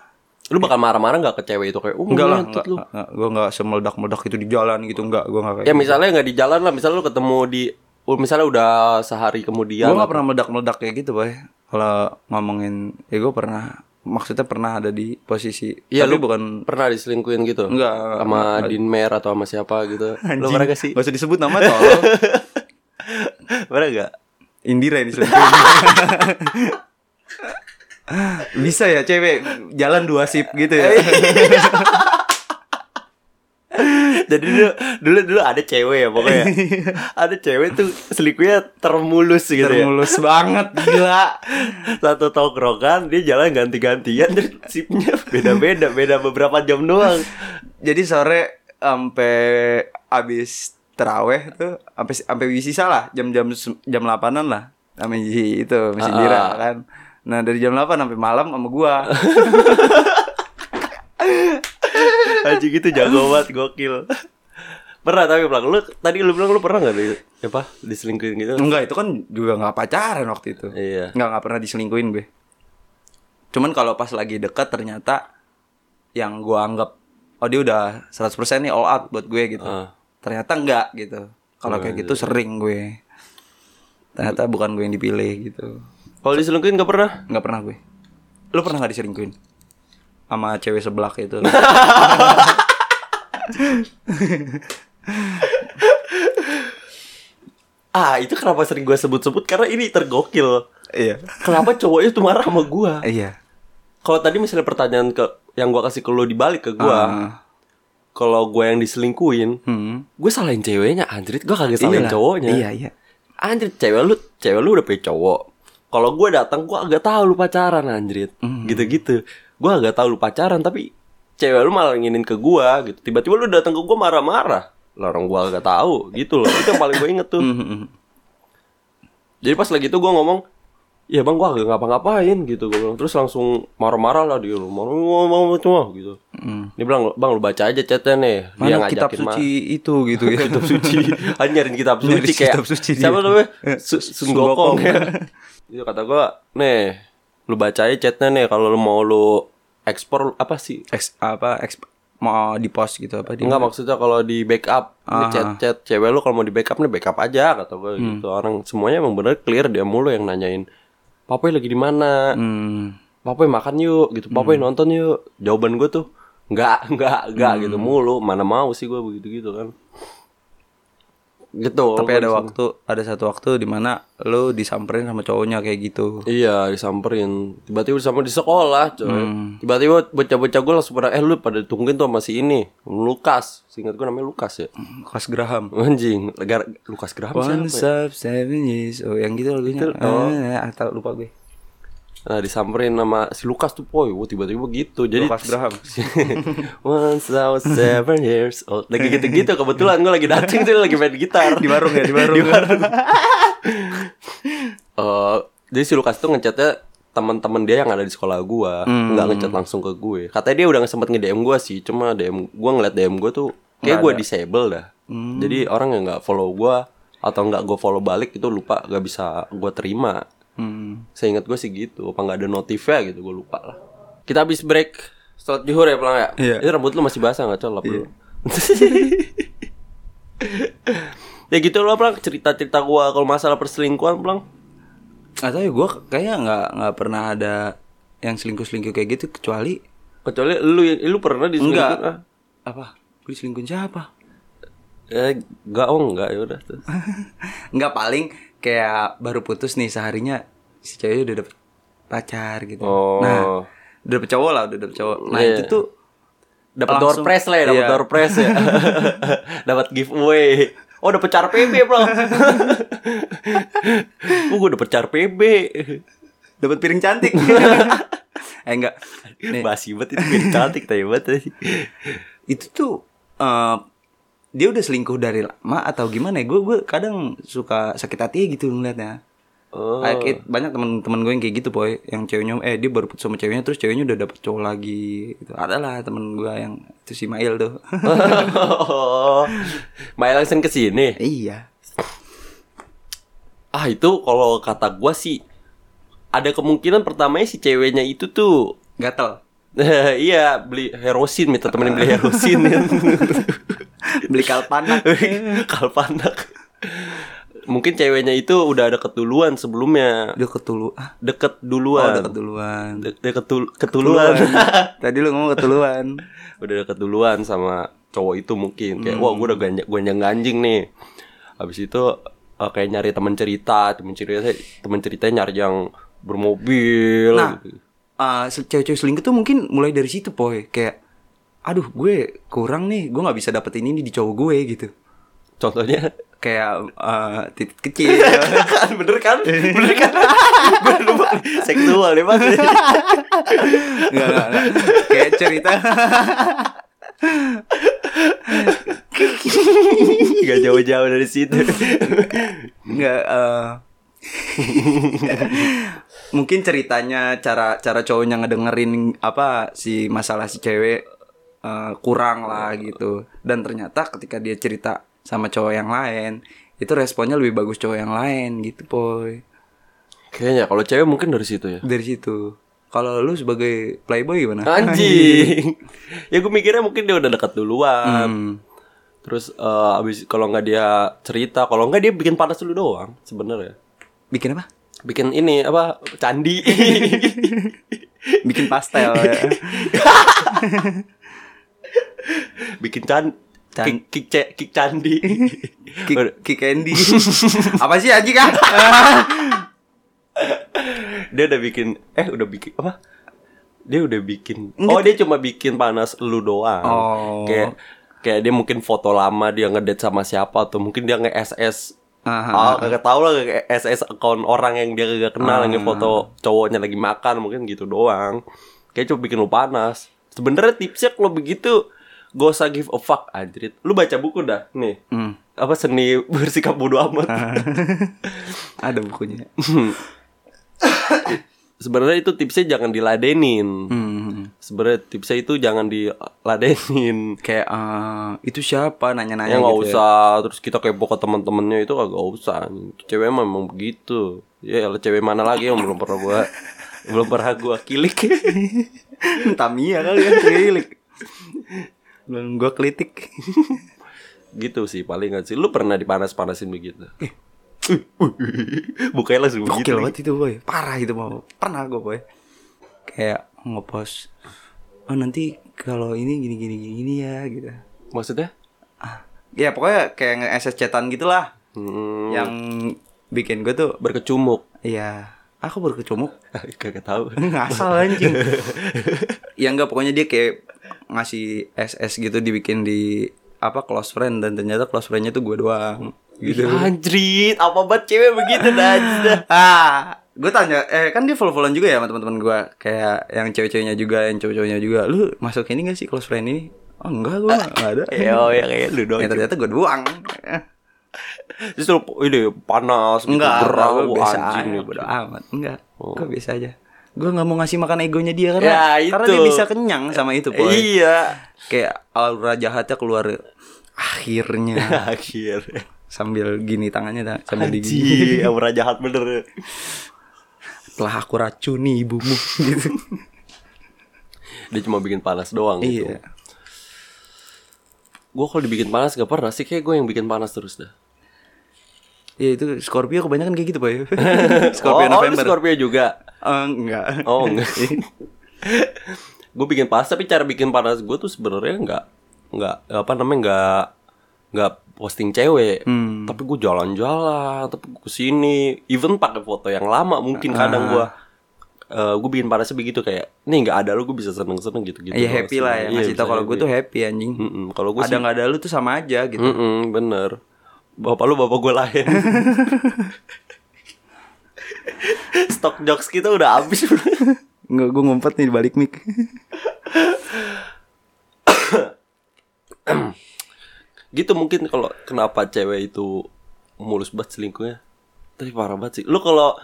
[SPEAKER 1] Lu bakal marah-marah gak ke cewek itu kayak, "Oh,
[SPEAKER 2] Enggak lah,
[SPEAKER 1] ngentot
[SPEAKER 2] enggak,
[SPEAKER 1] lu."
[SPEAKER 2] enggak. Gue enggak semeledak-meledak itu di jalan gitu, enggak. Gue enggak kayak
[SPEAKER 1] Ya misalnya nggak di jalan lah, misalnya lu ketemu di oh, misalnya udah sehari kemudian
[SPEAKER 2] Gue enggak pernah meledak-meledak kayak gitu, Boy. Kalau ngomongin, ya gue pernah maksudnya pernah ada di posisi
[SPEAKER 1] Iya,
[SPEAKER 2] tapi
[SPEAKER 1] lu-
[SPEAKER 2] bukan
[SPEAKER 1] Pernah diselingkuin gitu?
[SPEAKER 2] Enggak, enggak,
[SPEAKER 1] Sama Dinmer atau sama siapa gitu. Lu pernah gak sih?
[SPEAKER 2] Gak usah disebut nama tolong.
[SPEAKER 1] Pernah gak?
[SPEAKER 2] Indira ini selingkuh. Bisa ya cewek jalan dua sip gitu ya.
[SPEAKER 1] Jadi dulu, dulu dulu ada cewek ya pokoknya. ada cewek tuh selingkuhnya termulus gitu ya.
[SPEAKER 2] Termulus banget gila.
[SPEAKER 1] Satu tongkrongan dia jalan ganti-gantian terus sipnya beda-beda, beda beberapa jam doang.
[SPEAKER 2] Jadi sore sampai abis teraweh tuh sampai sampai sisa lah jam-jam se- jam 8-an lah sama si itu sama si Indira
[SPEAKER 1] Ah.
[SPEAKER 2] kan. Nah, dari jam 8 sampai malam sama gua.
[SPEAKER 1] Anjing gitu jago banget gokil. Pernah tapi Plang, lu tadi lu bilang lu pernah nggak di apa diselingkuhin gitu?
[SPEAKER 2] Enggak, itu kan juga nggak pacaran waktu itu.
[SPEAKER 1] Iya.
[SPEAKER 2] Enggak, nggak pernah diselingkuhin gue. Cuman kalau pas lagi dekat ternyata yang gue anggap oh dia udah 100% nih all out buat gue gitu.
[SPEAKER 1] Ah.
[SPEAKER 2] Ternyata enggak gitu. Kalau kayak gitu sering gue. Ternyata bukan gue yang dipilih gitu.
[SPEAKER 1] Kalau diselingkuhin nggak pernah?
[SPEAKER 2] Enggak pernah gue. Lu pernah nggak diselingkuhin? Sama cewek sebelah itu.
[SPEAKER 1] Ah itu kenapa sering gue sebut-sebut karena ini tergokil.
[SPEAKER 2] iya.
[SPEAKER 1] Kenapa cowoknya tuh marah sama gue?
[SPEAKER 2] Iya.
[SPEAKER 1] Kalau tadi misalnya pertanyaan ke yang gue kasih ke lo dibalik ke gue,
[SPEAKER 2] Ah.
[SPEAKER 1] kalau gue yang diselingkuin,
[SPEAKER 2] Hmm.
[SPEAKER 1] gue salahin ceweknya, anjrit gue kagak salahin
[SPEAKER 2] Iyalah.
[SPEAKER 1] cowoknya.
[SPEAKER 2] Iya, iya.
[SPEAKER 1] Anjrit cewek lu, cewek lu udah punya cowok. Kalau gue datang gue agak tahu lu pacaran anjrit.
[SPEAKER 2] Mm-hmm.
[SPEAKER 1] Gitu-gitu. Gue agak tahu lu pacaran tapi cewek lu malah nginin ke gue gitu. Tiba-tiba lu datang ke gue marah-marah. Lah orang gue agak tahu gitu loh. Itu yang paling gue inget tuh.
[SPEAKER 2] Hmm, hmm, hmm.
[SPEAKER 1] Jadi pas lagi itu gue ngomong, ya bang gue agak ngapa-ngapain gitu gue bilang. Terus langsung marah-marah lah dia lu mau mau mau cuma gitu. Dia bilang bang lu baca aja chatnya nih. Dia
[SPEAKER 2] Mm. Mana kitab
[SPEAKER 1] ngajakin mah.
[SPEAKER 2] suci itu gitu ya.
[SPEAKER 1] kitab suci. Anjarin kitab suci
[SPEAKER 2] Nyari
[SPEAKER 1] kayak.
[SPEAKER 2] kitab suci dia.
[SPEAKER 1] siapa namanya? Su-
[SPEAKER 2] Sun
[SPEAKER 1] Sun Gokong. Itu kata gue, nih lu baca aja chatnya nih kalau lu mau lu ekspor apa sih?
[SPEAKER 2] Ex, apa ex, mau di post gitu apa di
[SPEAKER 1] Enggak maksudnya kalau di backup Ini
[SPEAKER 2] Ah,
[SPEAKER 1] chat-chat cewek lu kalau mau di backup nih backup aja kata gue
[SPEAKER 2] Hmm.
[SPEAKER 1] gitu. Orang semuanya emang bener clear dia mulu yang nanyain. Papoy lagi di mana?
[SPEAKER 2] Hmm.
[SPEAKER 1] Papoy makan yuk gitu. Papoy nonton yuk. Jawaban gue tuh enggak, enggak, enggak gitu
[SPEAKER 2] Hmm.
[SPEAKER 1] mulu. Mana mau sih gue begitu-gitu kan. Gitu.
[SPEAKER 2] tapi
[SPEAKER 1] gua
[SPEAKER 2] ada
[SPEAKER 1] disuruh-
[SPEAKER 2] waktu ada satu waktu di mana lu disamperin sama cowoknya kayak gitu
[SPEAKER 1] Iya disamperin Tiba-tiba disamperin di sekolah coy
[SPEAKER 2] Hmm.
[SPEAKER 1] Tiba-tiba bocah-bocah gue langsung pada Eh lu pada ditungguin tuh sama si ini Lukas Seingat gue namanya Lukas ya
[SPEAKER 2] Kas Graham
[SPEAKER 1] Anjing Gara Lukas Graham siapa
[SPEAKER 2] One
[SPEAKER 1] ya?
[SPEAKER 2] sub seven years oh yang gitu lagunya Eh, atau lupa gue
[SPEAKER 1] Nah disamperin sama si Lukas tuh poy Wah tiba-tiba gitu Jadi
[SPEAKER 2] Lukas Graham
[SPEAKER 1] Once I was seven years old Lagi gitu-gitu Kebetulan gue lagi dateng tuh Lagi main gitar
[SPEAKER 2] di warung ya di warung,
[SPEAKER 1] Eh, Jadi si Lukas tuh ngechatnya teman-teman dia yang ada di sekolah gua nggak ngechat langsung ke gue katanya dia udah sempet nge DM gua sih cuma DM gua ngeliat DM gua tuh kayak gua disable dah jadi orang yang nggak follow gua atau nggak gua follow balik itu lupa nggak bisa gua terima
[SPEAKER 2] Hmm.
[SPEAKER 1] seingat gua sih gitu apa nggak ada notifnya gitu gua lupa lah kita habis break setelah juhur ya pelang ya
[SPEAKER 2] Iya.
[SPEAKER 1] itu rambut lu masih basah nggak colap lu ya gitu lah pelang cerita-cerita gua kalau masalah perselingkuhan pelang
[SPEAKER 2] nggak tahu ya gue kayaknya nggak nggak pernah ada yang selingkuh selingkuh kayak gitu kecuali
[SPEAKER 1] Kecuali lu eh, lu pernah diselingkuhin? ah?
[SPEAKER 2] enggak apa gue selingkuh siapa
[SPEAKER 1] Eh, enggak, oh enggak ya udah tuh.
[SPEAKER 2] Enggak paling kayak baru putus nih seharinya si cewek udah dapet pacar gitu.
[SPEAKER 1] Oh.
[SPEAKER 2] Nah, udah dapet cowok lah, udah dapet cowok. Nah,
[SPEAKER 1] Iya.
[SPEAKER 2] itu tuh
[SPEAKER 1] Dapat door
[SPEAKER 2] langsung-
[SPEAKER 1] prize lah ya, dapat
[SPEAKER 2] Iya.
[SPEAKER 1] door prize ya. dapat giveaway. Oh, udah pecar PB, Bro. oh, gue udah pecar PB.
[SPEAKER 2] dapet piring cantik. eh enggak. Nih,
[SPEAKER 1] Basi banget itu piring cantik tapi banget. tadi.
[SPEAKER 2] itu tuh eh, dia udah selingkuh dari lama atau gimana ya? Gue gue kadang suka sakit hati gitu ngeliatnya.
[SPEAKER 1] Oh.
[SPEAKER 2] Kayak it- banyak teman-teman gue yang kayak gitu boy, yang ceweknya eh dia baru putus sama ceweknya terus ceweknya udah dapet cowok lagi. Gitu. Adalah temen gue yang itu si Mail tuh.
[SPEAKER 1] oh. Maya langsung ke sini.
[SPEAKER 2] iya.
[SPEAKER 1] Ah, itu kalau kata gua sih ada kemungkinan pertamanya si ceweknya itu tuh
[SPEAKER 2] Gatel.
[SPEAKER 1] iya beli herosin minta temenin beli herosin
[SPEAKER 2] beli kalpanak
[SPEAKER 1] kalpanak mungkin ceweknya itu udah ada ketuluan sebelumnya
[SPEAKER 2] Dia ketulu ah,
[SPEAKER 1] deket
[SPEAKER 2] oh,
[SPEAKER 1] duluan
[SPEAKER 2] udah ketuluan.
[SPEAKER 1] De- deket tul- ketuluan
[SPEAKER 2] Tadi lu ngomong ketuluan.
[SPEAKER 1] udah deket duluan sama cowok itu mungkin kayak wah gue udah ganjang ganjang ganjing nih habis itu eh, kayak nyari teman cerita teman cerita teman ceritanya nyari yang bermobil
[SPEAKER 2] Nah, eh, se- cewek-cewek selingkuh tuh mungkin mulai dari situ poy kayak aduh gue kurang nih gue nggak bisa dapetin ini di cowok gue gitu
[SPEAKER 1] contohnya
[SPEAKER 2] kayak eh, titik kecil
[SPEAKER 1] kan bener kan bener kan Gua lupa. seksual ya mas
[SPEAKER 2] Enggak, enggak, enggak. kayak cerita
[SPEAKER 1] nggak jauh-jauh dari situ
[SPEAKER 2] Enggak eh mungkin ceritanya cara cara cowoknya ngedengerin apa si masalah si cewek eh, kurang lah gitu dan ternyata ketika dia cerita sama cowok yang lain itu responnya lebih bagus cowok yang lain gitu poy
[SPEAKER 1] kayaknya kalau cewek mungkin dari situ ya
[SPEAKER 2] dari situ kalau lu sebagai playboy gimana
[SPEAKER 1] Anjing. ya gue mikirnya mungkin dia udah dekat duluan.
[SPEAKER 2] Hmm.
[SPEAKER 1] Terus eh, abis kalau nggak dia cerita, kalau nggak dia bikin panas dulu doang sebenarnya.
[SPEAKER 2] bikin apa
[SPEAKER 1] Bikin ini apa candi.
[SPEAKER 2] bikin pastel ya.
[SPEAKER 1] bikin can
[SPEAKER 2] Can-
[SPEAKER 1] kick, kick, ce- kick candi.
[SPEAKER 2] kick, kick candy apa sih anjing kan
[SPEAKER 1] dia udah bikin eh udah bikin apa? Dia udah bikin. Oh, dia cuma bikin panas lu doang.
[SPEAKER 2] Oh.
[SPEAKER 1] Kayak kayak dia mungkin foto lama dia ngedate sama siapa atau mungkin dia nge-SS
[SPEAKER 2] Aha. Ah.
[SPEAKER 1] Ah, kagak tahu lah kayak SS account orang yang dia kagak kenal yang foto cowoknya lagi makan mungkin gitu doang. Kayak cuma bikin lu panas. Sebenarnya tipsnya kalau begitu gak usah give a fuck anjrit. Lu baca buku dah nih.
[SPEAKER 2] Hmm.
[SPEAKER 1] Apa seni bersikap bodoh amat.
[SPEAKER 2] Ah. ada bukunya
[SPEAKER 1] Sebenarnya itu tipsnya jangan diladenin.
[SPEAKER 2] Hmm.
[SPEAKER 1] Sebenarnya tipsnya itu jangan diladenin.
[SPEAKER 2] kayak eh, itu siapa nanya-nanya
[SPEAKER 1] Ya nggak
[SPEAKER 2] gitu ya.
[SPEAKER 1] usah terus kita kepo ke teman-temannya itu kagak usah. Cewek emang memang begitu. Ya elah, cewek mana lagi yang belum pernah gua belum pernah gua kilik.
[SPEAKER 2] Tamiya kali ya kelilik belum gua kelitik
[SPEAKER 1] gitu sih paling nggak sih. Lu pernah dipanas-panasin begitu? Bukannya langsung begitu.
[SPEAKER 2] gokil banget itu boy parah itu mau pernah gua boy kayak ngepost oh nanti kalau ini gini gini gini, gini ya gitu
[SPEAKER 1] Maksudnya?
[SPEAKER 2] ah. ya pokoknya kayak nge SS chatan gitulah
[SPEAKER 1] Hmm,
[SPEAKER 2] yang bikin gua tuh
[SPEAKER 1] berkecumuk.
[SPEAKER 2] ya aku baru kecomuk
[SPEAKER 1] Kagak tahu.
[SPEAKER 2] ngasal anjing ya enggak pokoknya dia kayak ngasih SS gitu dibikin di apa close friend dan ternyata close friendnya tuh gue doang gitu
[SPEAKER 1] Anjrit, apa banget cewek begitu dah.
[SPEAKER 2] ah gue tanya eh kan dia follow followan juga ya sama teman-teman gue kayak yang cewek-ceweknya juga yang cowok-cowoknya juga lu masuk ini gak sih close friend ini oh enggak gue enggak ada ya,
[SPEAKER 1] Yo, ya kayak lu doang.
[SPEAKER 2] ternyata gue doang
[SPEAKER 1] Terus lu ini panas gitu,
[SPEAKER 2] enggak
[SPEAKER 1] gerah,
[SPEAKER 2] gue
[SPEAKER 1] wah,
[SPEAKER 2] biasa
[SPEAKER 1] anjing gitu. lu.
[SPEAKER 2] aja Oh. bodo amat enggak gue biasa aja gue nggak mau ngasih makan egonya dia karena
[SPEAKER 1] Ya,
[SPEAKER 2] karena
[SPEAKER 1] itu.
[SPEAKER 2] dia bisa kenyang sama itu boy
[SPEAKER 1] Iya.
[SPEAKER 2] kayak aura jahatnya keluar akhirnya
[SPEAKER 1] Akhir.
[SPEAKER 2] sambil gini tangannya dah, sambil
[SPEAKER 1] Anjing,
[SPEAKER 2] digigit
[SPEAKER 1] aura jahat bener.
[SPEAKER 2] telah aku racuni ibumu gitu
[SPEAKER 1] Dia cuma bikin panas doang gitu.
[SPEAKER 2] iya
[SPEAKER 1] Gue kalau dibikin panas gak pernah sih kayak gue yang bikin panas terus dah.
[SPEAKER 2] ya itu Scorpio kebanyakan kayak gitu pak ya
[SPEAKER 1] oh, oh,
[SPEAKER 2] Scorpio
[SPEAKER 1] lu
[SPEAKER 2] November
[SPEAKER 1] Scorpio juga.
[SPEAKER 2] Eh, enggak
[SPEAKER 1] Oh enggak. gue bikin panas tapi cara bikin panas gue tuh sebenarnya nggak nggak apa namanya nggak nggak posting cewek
[SPEAKER 2] Hmm.
[SPEAKER 1] tapi gue jalan-jalan tapi gue kesini even pakai foto yang lama mungkin kadang gue
[SPEAKER 2] Ah.
[SPEAKER 1] gue bikin panasnya begitu kayak nih nggak ada lu gue bisa seneng-seneng gitu-gitu
[SPEAKER 2] Iya
[SPEAKER 1] doang
[SPEAKER 2] happy
[SPEAKER 1] sih.
[SPEAKER 2] lah
[SPEAKER 1] Iya,
[SPEAKER 2] ya ngasih tau
[SPEAKER 1] bisa
[SPEAKER 2] kalau gue
[SPEAKER 1] happy. Hmm.
[SPEAKER 2] tuh happy anjing
[SPEAKER 1] Mm-mm, kalau gue
[SPEAKER 2] ada nggak ada lu tuh sama aja gitu
[SPEAKER 1] Mm-mm, bener. Bapak lu bapak gue lain. Stok jokes kita udah habis.
[SPEAKER 2] nggak gue ngumpet nih di balik mic
[SPEAKER 1] gitu mungkin kalau kenapa cewek itu mulus banget selingkuhnya. Tapi parah banget sih. Lu kalau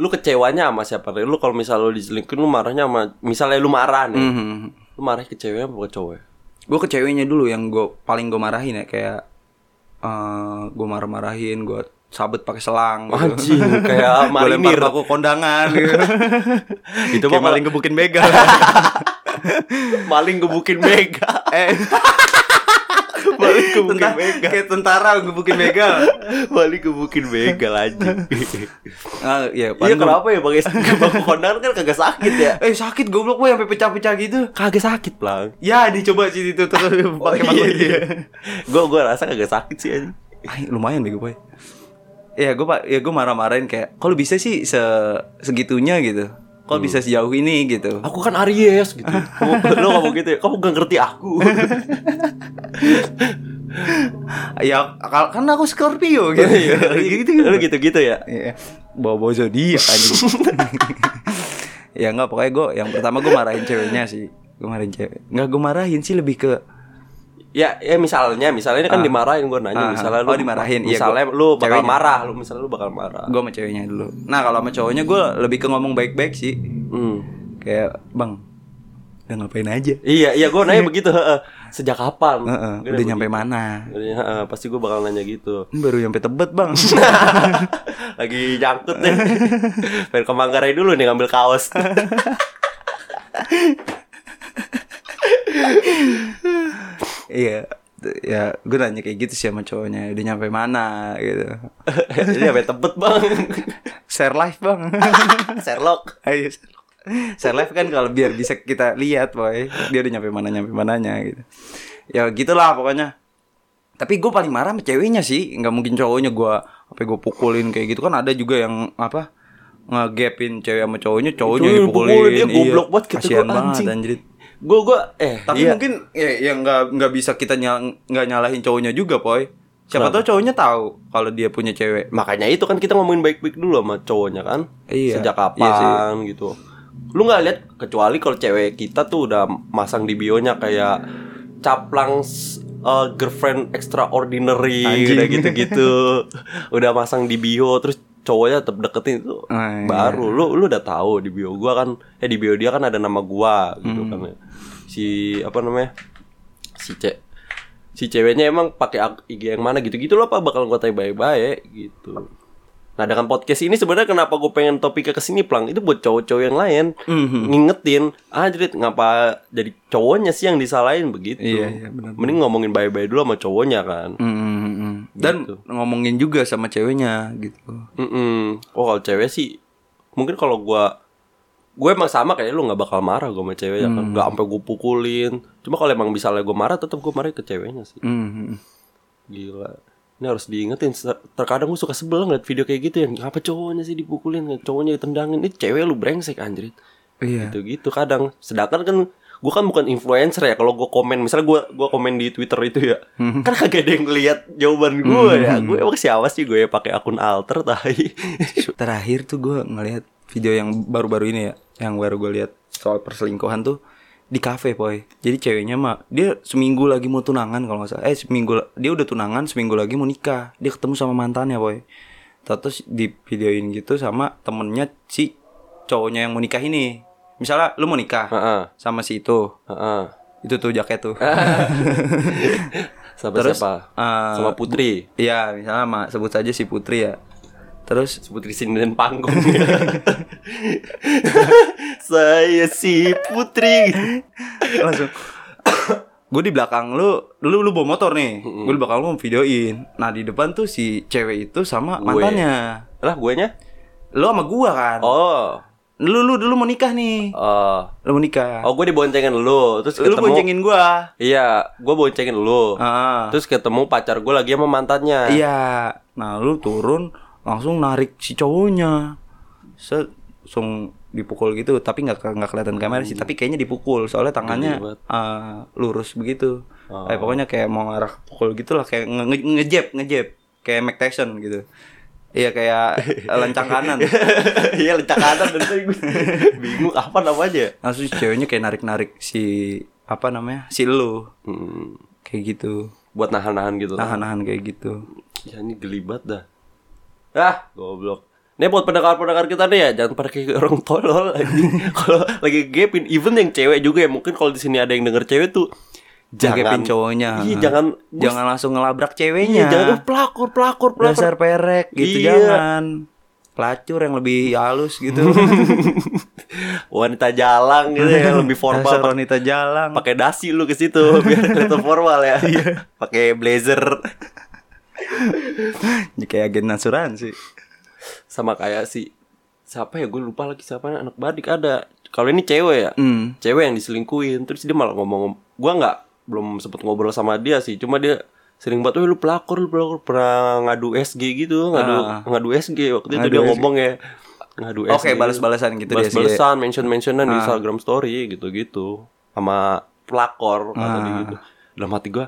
[SPEAKER 1] lu kecewanya sama siapa? Lu kalau misal lu diselingkuhin lu marahnya sama misalnya lu marah nih. Lu marah ke ceweknya apa ke cowok?
[SPEAKER 2] gue ke ceweknya dulu yang gue paling gue marahin ya kayak eh gue marah-marahin gue sabet pakai selang gitu.
[SPEAKER 1] Anjing kayak
[SPEAKER 2] Gue lempar
[SPEAKER 1] marinir.
[SPEAKER 2] aku kondangan gitu.
[SPEAKER 1] Itu
[SPEAKER 2] Kayak
[SPEAKER 1] mah
[SPEAKER 2] maling
[SPEAKER 1] maling
[SPEAKER 2] gebukin begal
[SPEAKER 1] maling gebukin mega.
[SPEAKER 2] eh
[SPEAKER 1] Balik ke Bukit
[SPEAKER 2] Tentang,
[SPEAKER 1] Begal.
[SPEAKER 2] kayak tentara ngebukin begal.
[SPEAKER 1] Balik ke Bukit Begal anjing.
[SPEAKER 2] Ah, ya,
[SPEAKER 1] Iya
[SPEAKER 2] panggung.
[SPEAKER 1] kenapa ya pakai bang Honda kan kagak sakit ya?
[SPEAKER 2] Eh sakit goblok boy sampai pecah-pecah gitu.
[SPEAKER 1] Kagak sakit Iya, plang.
[SPEAKER 2] Ya dicoba sih itu terus
[SPEAKER 1] Oh,
[SPEAKER 2] pakai pakai dia.
[SPEAKER 1] Gue gue gitu. rasa kagak sakit sih anjing.
[SPEAKER 2] Ay, lumayan bego boy. Ya gue pak, ya gue marah-marahin kayak, kalau bisa sih se segitunya gitu.
[SPEAKER 1] Hmm.
[SPEAKER 2] Kalau bisa sejauh ini gitu.
[SPEAKER 1] Aku kan Aries gitu. Kamu- Lo ngomong gitu ya. Kamu gak ngerti aku.
[SPEAKER 2] Ya kal- kan aku
[SPEAKER 1] Oh,
[SPEAKER 2] Scorpio gitu. gitu,
[SPEAKER 1] Lo Iya. gitu-gitu ya.
[SPEAKER 2] Iya. Bawa-bawa zodiak anjing. ya enggak pokoknya gue yang pertama gue marahin ceweknya sih. Gue marahin cewek. Enggak gue marahin sih lebih ke
[SPEAKER 1] Ya, ya misalnya, misalnya ini kan
[SPEAKER 2] Ah.
[SPEAKER 1] dimarahin gue nanya,
[SPEAKER 2] Ah,
[SPEAKER 1] misalnya
[SPEAKER 2] ah.
[SPEAKER 1] lu
[SPEAKER 2] Oh, dimarahin. Iya,
[SPEAKER 1] misalnya
[SPEAKER 2] gua-
[SPEAKER 1] lu bakal
[SPEAKER 2] ceweknya.
[SPEAKER 1] marah, lu misalnya lu bakal marah.
[SPEAKER 2] gue sama ceweknya dulu. Nah kalau sama cowoknya gue lebih ke ngomong baik-baik sih.
[SPEAKER 1] Hmm.
[SPEAKER 2] Kayak bang, udah ngapain aja?
[SPEAKER 1] Iya, iya gue nanya begitu. heeh. Sejak kapan?
[SPEAKER 2] Heeh,
[SPEAKER 1] Gua
[SPEAKER 2] udah
[SPEAKER 1] nanya
[SPEAKER 2] nyampe
[SPEAKER 1] begitu.
[SPEAKER 2] mana?
[SPEAKER 1] Iya, heeh, pasti gue bakal nanya gitu.
[SPEAKER 2] "Hmm, Baru nyampe tebet bang.
[SPEAKER 1] Lagi nyangkut nih. Pengen ke Manggarai dulu nih ngambil kaos.
[SPEAKER 2] Iya, T- ya gue nanya kayak gitu sih sama cowoknya. Udah nyampe mana gitu?
[SPEAKER 1] Ini sampai tebet bang.
[SPEAKER 2] Share live bang.
[SPEAKER 1] Sherlock.
[SPEAKER 2] Ayo share live. Share live kan kalau biar bisa kita lihat boy. Dia udah nyampe mana nyampe mananya gitu. Ya gitulah pokoknya. Tapi gue paling marah sama ceweknya sih. Nggak mungkin cowoknya gue apa gue pukulin kayak gitu kan ada juga yang apa ngegapin cewek sama cowoknya cowoknya
[SPEAKER 1] Itu
[SPEAKER 2] yang dipukulin
[SPEAKER 1] dia
[SPEAKER 2] Iya,
[SPEAKER 1] goblok banget gitu
[SPEAKER 2] kasihan
[SPEAKER 1] gua,
[SPEAKER 2] banget
[SPEAKER 1] anjing.
[SPEAKER 2] anjrit.
[SPEAKER 1] Gue gue eh
[SPEAKER 2] Tapi
[SPEAKER 1] iya.
[SPEAKER 2] mungkin ya yang nggak nggak bisa kita nyal nggak nyalahin cowoknya juga, Poy. Siapa tahu cowoknya tahu kalau dia punya cewek.
[SPEAKER 1] makanya itu kan kita ngomongin baik-baik dulu sama cowoknya kan
[SPEAKER 2] Iya.
[SPEAKER 1] sejak kapan
[SPEAKER 2] Iya
[SPEAKER 1] gitu lu nggak lihat kecuali kalau cewek kita tuh udah masang di bionya kayak caplang s- eh, girlfriend extraordinary
[SPEAKER 2] Anjing.
[SPEAKER 1] udah gitu-gitu udah masang di bio terus cowoknya tetap deketin itu
[SPEAKER 2] Ah, iya.
[SPEAKER 1] baru lu lu udah tahu di bio gua kan eh di bio dia kan ada nama gua gitu
[SPEAKER 2] Hmm.
[SPEAKER 1] kan ya. si apa namanya si ce si ceweknya emang pakai ak- IG yang mana gitu-gitu loh apa bakal gua tanya baik-baik gitu. Nah dengan podcast ini sebenarnya kenapa gue pengen topiknya ke sini plang itu buat cowok-cowok yang lain
[SPEAKER 2] Mhm.
[SPEAKER 1] ngingetin ah jadi ngapa jadi cowoknya sih yang disalahin begitu.
[SPEAKER 2] Iya, iya, benar.
[SPEAKER 1] Mending ngomongin bye-bye dulu sama cowoknya kan.
[SPEAKER 2] Mm, mm, mm. Dan ngomongin juga sama ceweknya gitu.
[SPEAKER 1] Mm-mm. Oh kalau cewek sih mungkin kalau gua gue emang sama kayak lu nggak bakal marah gue sama cewek ya kan nggak sampai gue pukulin cuma kalau emang misalnya gue marah tetap gue marah ke ceweknya sih
[SPEAKER 2] Mm, mm.
[SPEAKER 1] Gila. Ini harus diingetin. Ser- Terkadang gue suka sebel ngeliat video kayak gitu yang apa cowoknya sih dipukulin, cowoknya ditendangin. Ini cewek lu brengsek anjrit.
[SPEAKER 2] Iya.
[SPEAKER 1] Gitu-gitu kadang. Sedangkan kan gue kan bukan influencer ya kalau gue komen misalnya gue gua komen di Twitter itu ya kan kagak ada yang lihat jawaban gue ya gue emang siapa sih gue pakai akun alter tai
[SPEAKER 2] Terakhir tuh gue ngelihat video yang baru-baru ini ya, yang baru gue lihat soal perselingkuhan tuh di kafe boy. Jadi ceweknya mah dia seminggu lagi mau tunangan kalau nggak salah. Eh seminggu la- dia udah tunangan, seminggu lagi mau nikah. Dia ketemu sama mantannya boy. Terus di videoin gitu sama temennya si cowoknya yang mau nikah ini. Misalnya lu mau nikah
[SPEAKER 1] Heeh.
[SPEAKER 2] sama si itu,
[SPEAKER 1] Heeh.
[SPEAKER 2] itu tuh jaket tuh.
[SPEAKER 1] sama
[SPEAKER 2] Terus,
[SPEAKER 1] siapa
[SPEAKER 2] eh,
[SPEAKER 1] sama Putri
[SPEAKER 2] Iya misalnya sama sebut saja si Putri ya. Terus
[SPEAKER 1] Putri Sinden Panggung saya si Putri
[SPEAKER 2] langsung gue di belakang lu lu lu bawa motor nih gue di belakang lu videoin nah di depan tuh si cewek itu sama
[SPEAKER 1] Gue.
[SPEAKER 2] mantannya
[SPEAKER 1] lah guanya
[SPEAKER 2] lu sama gua kan
[SPEAKER 1] Oh,
[SPEAKER 2] lu lu dulu mau nikah nih
[SPEAKER 1] eh,
[SPEAKER 2] lu mau nikah
[SPEAKER 1] oh gue diboncengin lu, terus
[SPEAKER 2] lu
[SPEAKER 1] ketemu. Oh.
[SPEAKER 2] boncengin gua
[SPEAKER 1] Iya, gue boncengin lu.
[SPEAKER 2] ah
[SPEAKER 1] Terus ketemu pacar gue lagi sama mantannya.
[SPEAKER 2] iya nah lu turun langsung narik si cowoknya set langsung dipukul gitu tapi nggak ke- nggak kelihatan kamera sih tapi kayaknya dipukul soalnya tangannya eh, lurus begitu
[SPEAKER 1] Oh.
[SPEAKER 2] Eh, pokoknya kayak mau arah pukul gitulah kayak nge- nge- ngejeb ngejeb kayak Mike Tyson gitu iya kayak lencang kanan
[SPEAKER 1] Iya, lencang kanan dan tadi gue bingung apa namanya.
[SPEAKER 2] langsung si Nah, ceweknya kayak narik narik si apa namanya si lu
[SPEAKER 1] Hmm,
[SPEAKER 2] kayak gitu
[SPEAKER 1] buat nahan-nahan gitu. lah.
[SPEAKER 2] nahan nahan kayak gitu
[SPEAKER 1] Ya ini gelibat dah. Ah, goblok. Ini buat pendengar-pendengar kita nih ya, jangan pada kayak orang tolol anjing. Kalau lagi gapin even yang cewek juga ya, mungkin kalau di sini ada yang denger cewek tuh jangan
[SPEAKER 2] Ngegepin cowoknya
[SPEAKER 1] Iya, jangan
[SPEAKER 2] jangan langsung
[SPEAKER 1] Iya,
[SPEAKER 2] ngelabrak ceweknya Iya.
[SPEAKER 1] jangan pelakor, pelakor, pelakor.
[SPEAKER 2] dasar perek gitu
[SPEAKER 1] Iya.
[SPEAKER 2] jangan pelacur yang lebih halus gitu
[SPEAKER 1] wanita jalang gitu
[SPEAKER 2] Iya,
[SPEAKER 1] ya lebih formal
[SPEAKER 2] Dasar wanita jalang
[SPEAKER 1] pakai dasi lu ke situ biar kelihatan formal ya
[SPEAKER 2] Iya.
[SPEAKER 1] pakai blazer
[SPEAKER 2] Ini kayak agen asuransi
[SPEAKER 1] sama kayak si siapa ya gue lupa lagi siapa anak badik ada kalau ini cewek ya
[SPEAKER 2] Hmm.
[SPEAKER 1] cewek yang diselingkuhin terus dia malah ngomong gue nggak belum sempet ngobrol sama dia sih cuma dia sering banget "Weh, lu pelakor lu pelakor pernah ngadu SG gitu ngadu
[SPEAKER 2] Ah.
[SPEAKER 1] ngadu SG waktu itu
[SPEAKER 2] Ngadu
[SPEAKER 1] dia
[SPEAKER 2] SG.
[SPEAKER 1] ngomong ya ngadu
[SPEAKER 2] Oke, balas-balasan gitu dia
[SPEAKER 1] balas
[SPEAKER 2] sih. Ah.
[SPEAKER 1] balasan mention mentionan di Instagram story gitu gitu sama pelakor
[SPEAKER 2] Ah.
[SPEAKER 1] kata dia gitu dalam hati gue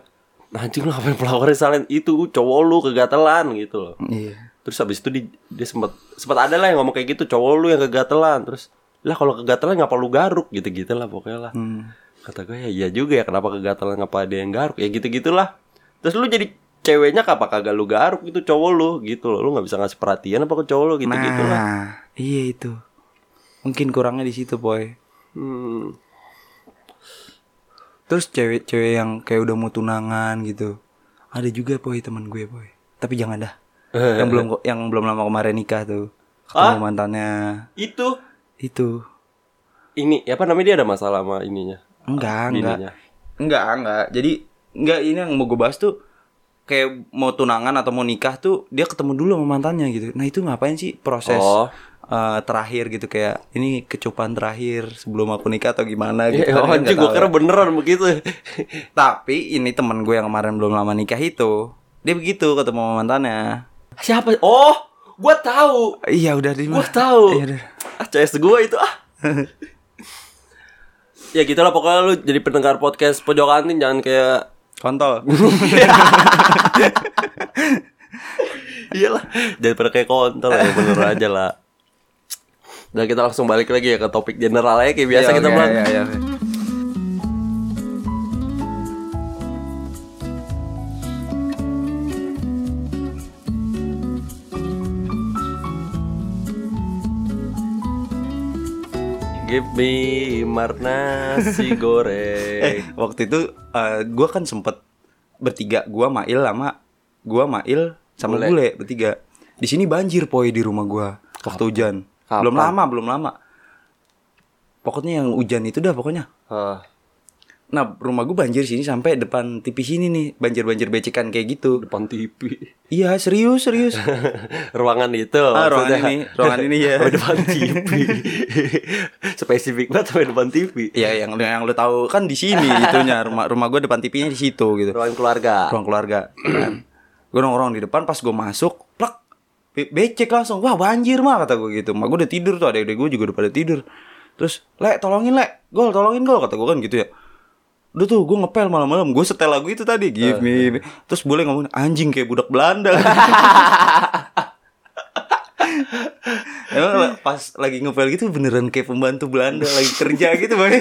[SPEAKER 1] anjing lu ngapain pelakornya salin itu cowok lu kegatelan gitu loh
[SPEAKER 2] iya
[SPEAKER 1] terus habis itu dia, dia sempat sempat ada lah yang ngomong kayak gitu cowok lu yang kegatelan terus lah kalau kegatelan ngapa lu garuk gitu gitu lah pokoknya lah
[SPEAKER 2] Hmm.
[SPEAKER 1] kata gue ya iya juga ya kenapa kegatelan ngapa ada yang garuk ya gitu gitulah terus lu jadi ceweknya apa kagak lu garuk itu cowok lu gitu loh lu nggak bisa ngasih perhatian apa ke cowok lu gitu
[SPEAKER 2] nah
[SPEAKER 1] gitulah
[SPEAKER 2] iya itu mungkin kurangnya di situ boy
[SPEAKER 1] hmm.
[SPEAKER 2] terus cewek-cewek yang kayak udah mau tunangan gitu ada juga boy teman gue boy tapi jangan dah yang belum yang belum lama kemarin nikah tuh ketemu mantannya
[SPEAKER 1] itu
[SPEAKER 2] itu
[SPEAKER 1] ini ya apa namanya dia ada masalah sama ininya Ah,
[SPEAKER 2] enggak enggak
[SPEAKER 1] Bininya.
[SPEAKER 2] enggak enggak jadi enggak ini yang mau gue bahas tuh kayak mau tunangan atau mau nikah tuh dia ketemu dulu sama mantannya gitu nah itu ngapain sih proses
[SPEAKER 1] Oh.
[SPEAKER 2] eh, terakhir gitu kayak ini kecupan terakhir sebelum aku nikah atau gimana
[SPEAKER 1] Eh,
[SPEAKER 2] gitu kan,
[SPEAKER 1] oh,
[SPEAKER 2] kan
[SPEAKER 1] anjing
[SPEAKER 2] nggak
[SPEAKER 1] gue
[SPEAKER 2] tahu
[SPEAKER 1] kira beneran begitu
[SPEAKER 2] Tapi ini temen gue yang kemarin belum lama nikah itu Dia begitu ketemu sama mantannya
[SPEAKER 1] siapa oh gue tahu
[SPEAKER 2] Iya udah di
[SPEAKER 1] Gua tahu.
[SPEAKER 2] Iya udah
[SPEAKER 1] Ah, CS gua itu ah. ya gitu lah pokoknya lu jadi pendengar podcast pojok kantin jangan kayak
[SPEAKER 2] Kontol
[SPEAKER 1] iyalah jangan pada kayak kontol ya bener aja lah dan kita langsung balik lagi ya ke topik general aja kayak biasa gitu,
[SPEAKER 2] Iya,
[SPEAKER 1] kita
[SPEAKER 2] oke,
[SPEAKER 1] bilang
[SPEAKER 2] iya, iya.
[SPEAKER 1] give me marna si
[SPEAKER 2] Eh
[SPEAKER 1] goreng
[SPEAKER 2] waktu itu eh, gue kan sempet bertiga Gue Mail sama Gue Mail sama
[SPEAKER 1] Bule.
[SPEAKER 2] Bule, bertiga di sini banjir poi di rumah gue Waktu hujan
[SPEAKER 1] Kapan?
[SPEAKER 2] Belum lama belum lama Pokoknya yang hujan itu dah pokoknya
[SPEAKER 1] Ah,
[SPEAKER 2] Nah rumah gue banjir sini sampai depan TV sini nih Banjir-banjir becekan kayak gitu
[SPEAKER 1] depan TV
[SPEAKER 2] Iya serius serius
[SPEAKER 1] ruangan itu
[SPEAKER 2] Ah, ruangan
[SPEAKER 1] maksudnya.
[SPEAKER 2] ini, ruangan ini, ya.
[SPEAKER 1] Sampai depan TV spesifik banget sampai depan TV
[SPEAKER 2] Ya yang yang lu tahu kan di sini itunya rumah rumah gue depan TV-nya di situ gitu.
[SPEAKER 1] ruangan keluarga
[SPEAKER 2] Ruang keluarga. gue nongkrong di depan pas gue masuk, plak be- becek langsung. Wah, banjir mah kata gue gitu. Mak gue udah tidur tuh, adek-adek gue juga udah pada tidur. Terus, "Lek, tolongin, Lek. Gol, tolongin gol," kata gue kan gitu ya. Udah tuh gue ngepel malam-malam Gue setel lagu itu tadi Give me Terus boleh ngomong Anjing kayak budak Belanda Emang la- pas lagi ngepel gitu Beneran kayak pembantu Belanda Lagi kerja gitu Bang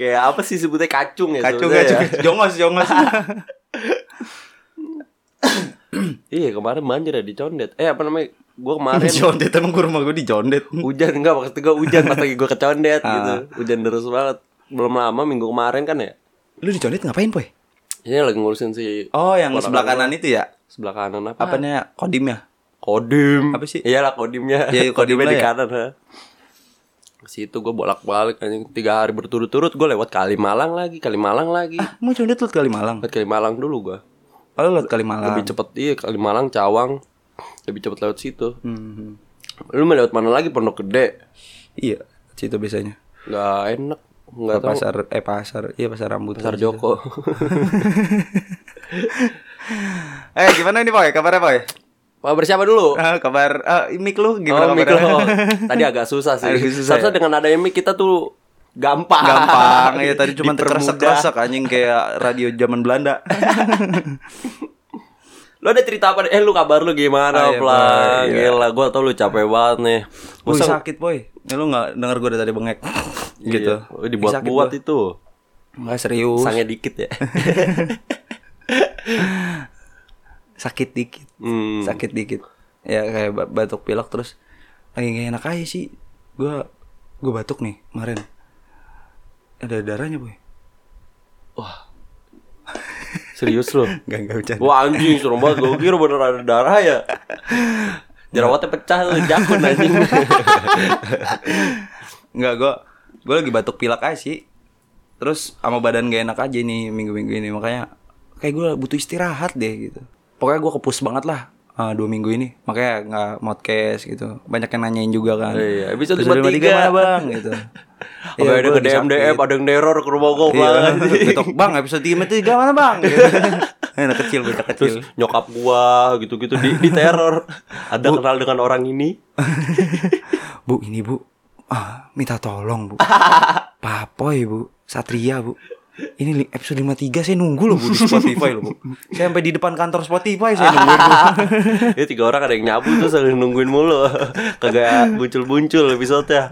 [SPEAKER 1] Kayak apa sih sebutnya kacung ya?
[SPEAKER 2] kacung
[SPEAKER 1] sebutnya
[SPEAKER 2] kacung
[SPEAKER 1] ya?
[SPEAKER 2] jongos jongos
[SPEAKER 1] Iya kemarin banjir ya di Condet. Eh apa namanya? Gue kemarin
[SPEAKER 2] di jondet emang gue rumah gue di jondet
[SPEAKER 1] hujan enggak maksud gue hujan pas lagi gue ke Condet
[SPEAKER 2] Ah.
[SPEAKER 1] gitu. Hujan deras banget. Belum lama minggu kemarin kan ya.
[SPEAKER 2] lu di jondet ngapain boy
[SPEAKER 1] Ini lagi ngurusin si
[SPEAKER 2] oh yang sebelah kanan itu ya
[SPEAKER 1] sebelah kanan apa?
[SPEAKER 2] apanya ya? kodimnya
[SPEAKER 1] Kodim.
[SPEAKER 2] Apa sih?
[SPEAKER 1] Iyalah kodimnya.
[SPEAKER 2] Iya, iya,
[SPEAKER 1] kodimnya
[SPEAKER 2] kodimnya
[SPEAKER 1] di
[SPEAKER 2] ya.
[SPEAKER 1] kanan ha. Ke Situ gue bolak-balik anjing tiga hari berturut-turut gue lewat Kalimalang lagi, Kalimalang lagi.
[SPEAKER 2] ah mau jondet lewat Kalimalang
[SPEAKER 1] Lewat Kalimalang dulu gue.
[SPEAKER 2] oh lu lewat Kalimalang
[SPEAKER 1] Lebih cepet iya Kalimalang, Cawang. Lebih cepet lewat situ.
[SPEAKER 2] Hmm.
[SPEAKER 1] Lu mau lewat mana lagi Pondok Gede?
[SPEAKER 2] iya situ biasanya
[SPEAKER 1] Nggak enak Nggak tahu pasar,
[SPEAKER 2] pasar eh pasar iya pasar rambutan
[SPEAKER 1] Joko
[SPEAKER 2] eh gimana ini boy kabarnya boy
[SPEAKER 1] Mau bersiapa dulu?
[SPEAKER 2] Ah, kabar ah, mic lu
[SPEAKER 1] Oh,
[SPEAKER 2] gimana
[SPEAKER 1] mic
[SPEAKER 2] kabarnya
[SPEAKER 1] lo. Tadi agak susah sih
[SPEAKER 2] Agak susah
[SPEAKER 1] Seharusnya
[SPEAKER 2] ya?
[SPEAKER 1] dengan adanya mic kita tuh Gampang
[SPEAKER 2] gampang ya tadi cuma
[SPEAKER 1] Dipermudah.
[SPEAKER 2] terkresek-kresek anjing kayak radio zaman Belanda
[SPEAKER 1] Lo ada cerita apa? Eh lu kabar lu gimana
[SPEAKER 2] Ah, iya,
[SPEAKER 1] Plang?
[SPEAKER 2] Bang, iya.
[SPEAKER 1] Gila gue tau lu capek banget nih
[SPEAKER 2] Wih
[SPEAKER 1] Masa-
[SPEAKER 2] sakit boy Ya, Lu gak denger gue dari tadi bengek
[SPEAKER 1] Iya,
[SPEAKER 2] Gitu
[SPEAKER 1] Dibuat-buat
[SPEAKER 2] Sakit, boy.
[SPEAKER 1] itu
[SPEAKER 2] Nggak serius
[SPEAKER 1] Sangnya dikit ya
[SPEAKER 2] Sakit dikit
[SPEAKER 1] Hmm.
[SPEAKER 2] Sakit dikit Ya kayak ba- batuk pilek terus Lagi gak enak aja sih Gue Gue batuk nih kemarin Ada darahnya boy
[SPEAKER 1] Serius lu?
[SPEAKER 2] Gak gak bercanda
[SPEAKER 1] Wah anjing serem banget Gue kira bener ada darah ya jerawatnya pecah lu jakun anjing
[SPEAKER 2] Enggak, gue gue lagi batuk pilek aja sih. Terus sama badan gak enak aja nih minggu-minggu ini makanya kayak gue butuh istirahat deh gitu. Pokoknya gue kepus banget lah eh, dua minggu ini makanya nggak modcast gitu banyak yang nanyain juga kan
[SPEAKER 1] Iya, episode
[SPEAKER 2] Terus
[SPEAKER 1] 53.
[SPEAKER 2] mana bang gitu
[SPEAKER 1] Apa
[SPEAKER 2] Iya,
[SPEAKER 1] ada ya
[SPEAKER 2] gua
[SPEAKER 1] ke
[SPEAKER 2] lagi
[SPEAKER 1] DM DM
[SPEAKER 2] sakit.
[SPEAKER 1] ada E, yang neror ke rumah kan. gue
[SPEAKER 2] Iya,
[SPEAKER 1] banget
[SPEAKER 2] betok bang episode 3 mana bang gitu. anak kecil bocah kecil
[SPEAKER 1] terus nyokap gua gitu-gitu di, di teror ada kenal dengan orang ini
[SPEAKER 2] bu ini bu ah, minta tolong bu papoy bu satria bu ini li- episode 53 saya nunggu loh bu di Spotify loh bu saya sampai di depan kantor Spotify saya nunggu bu.
[SPEAKER 1] ya tiga orang ada yang nyabu terus ada yang nungguin mulu kagak muncul-muncul episode-nya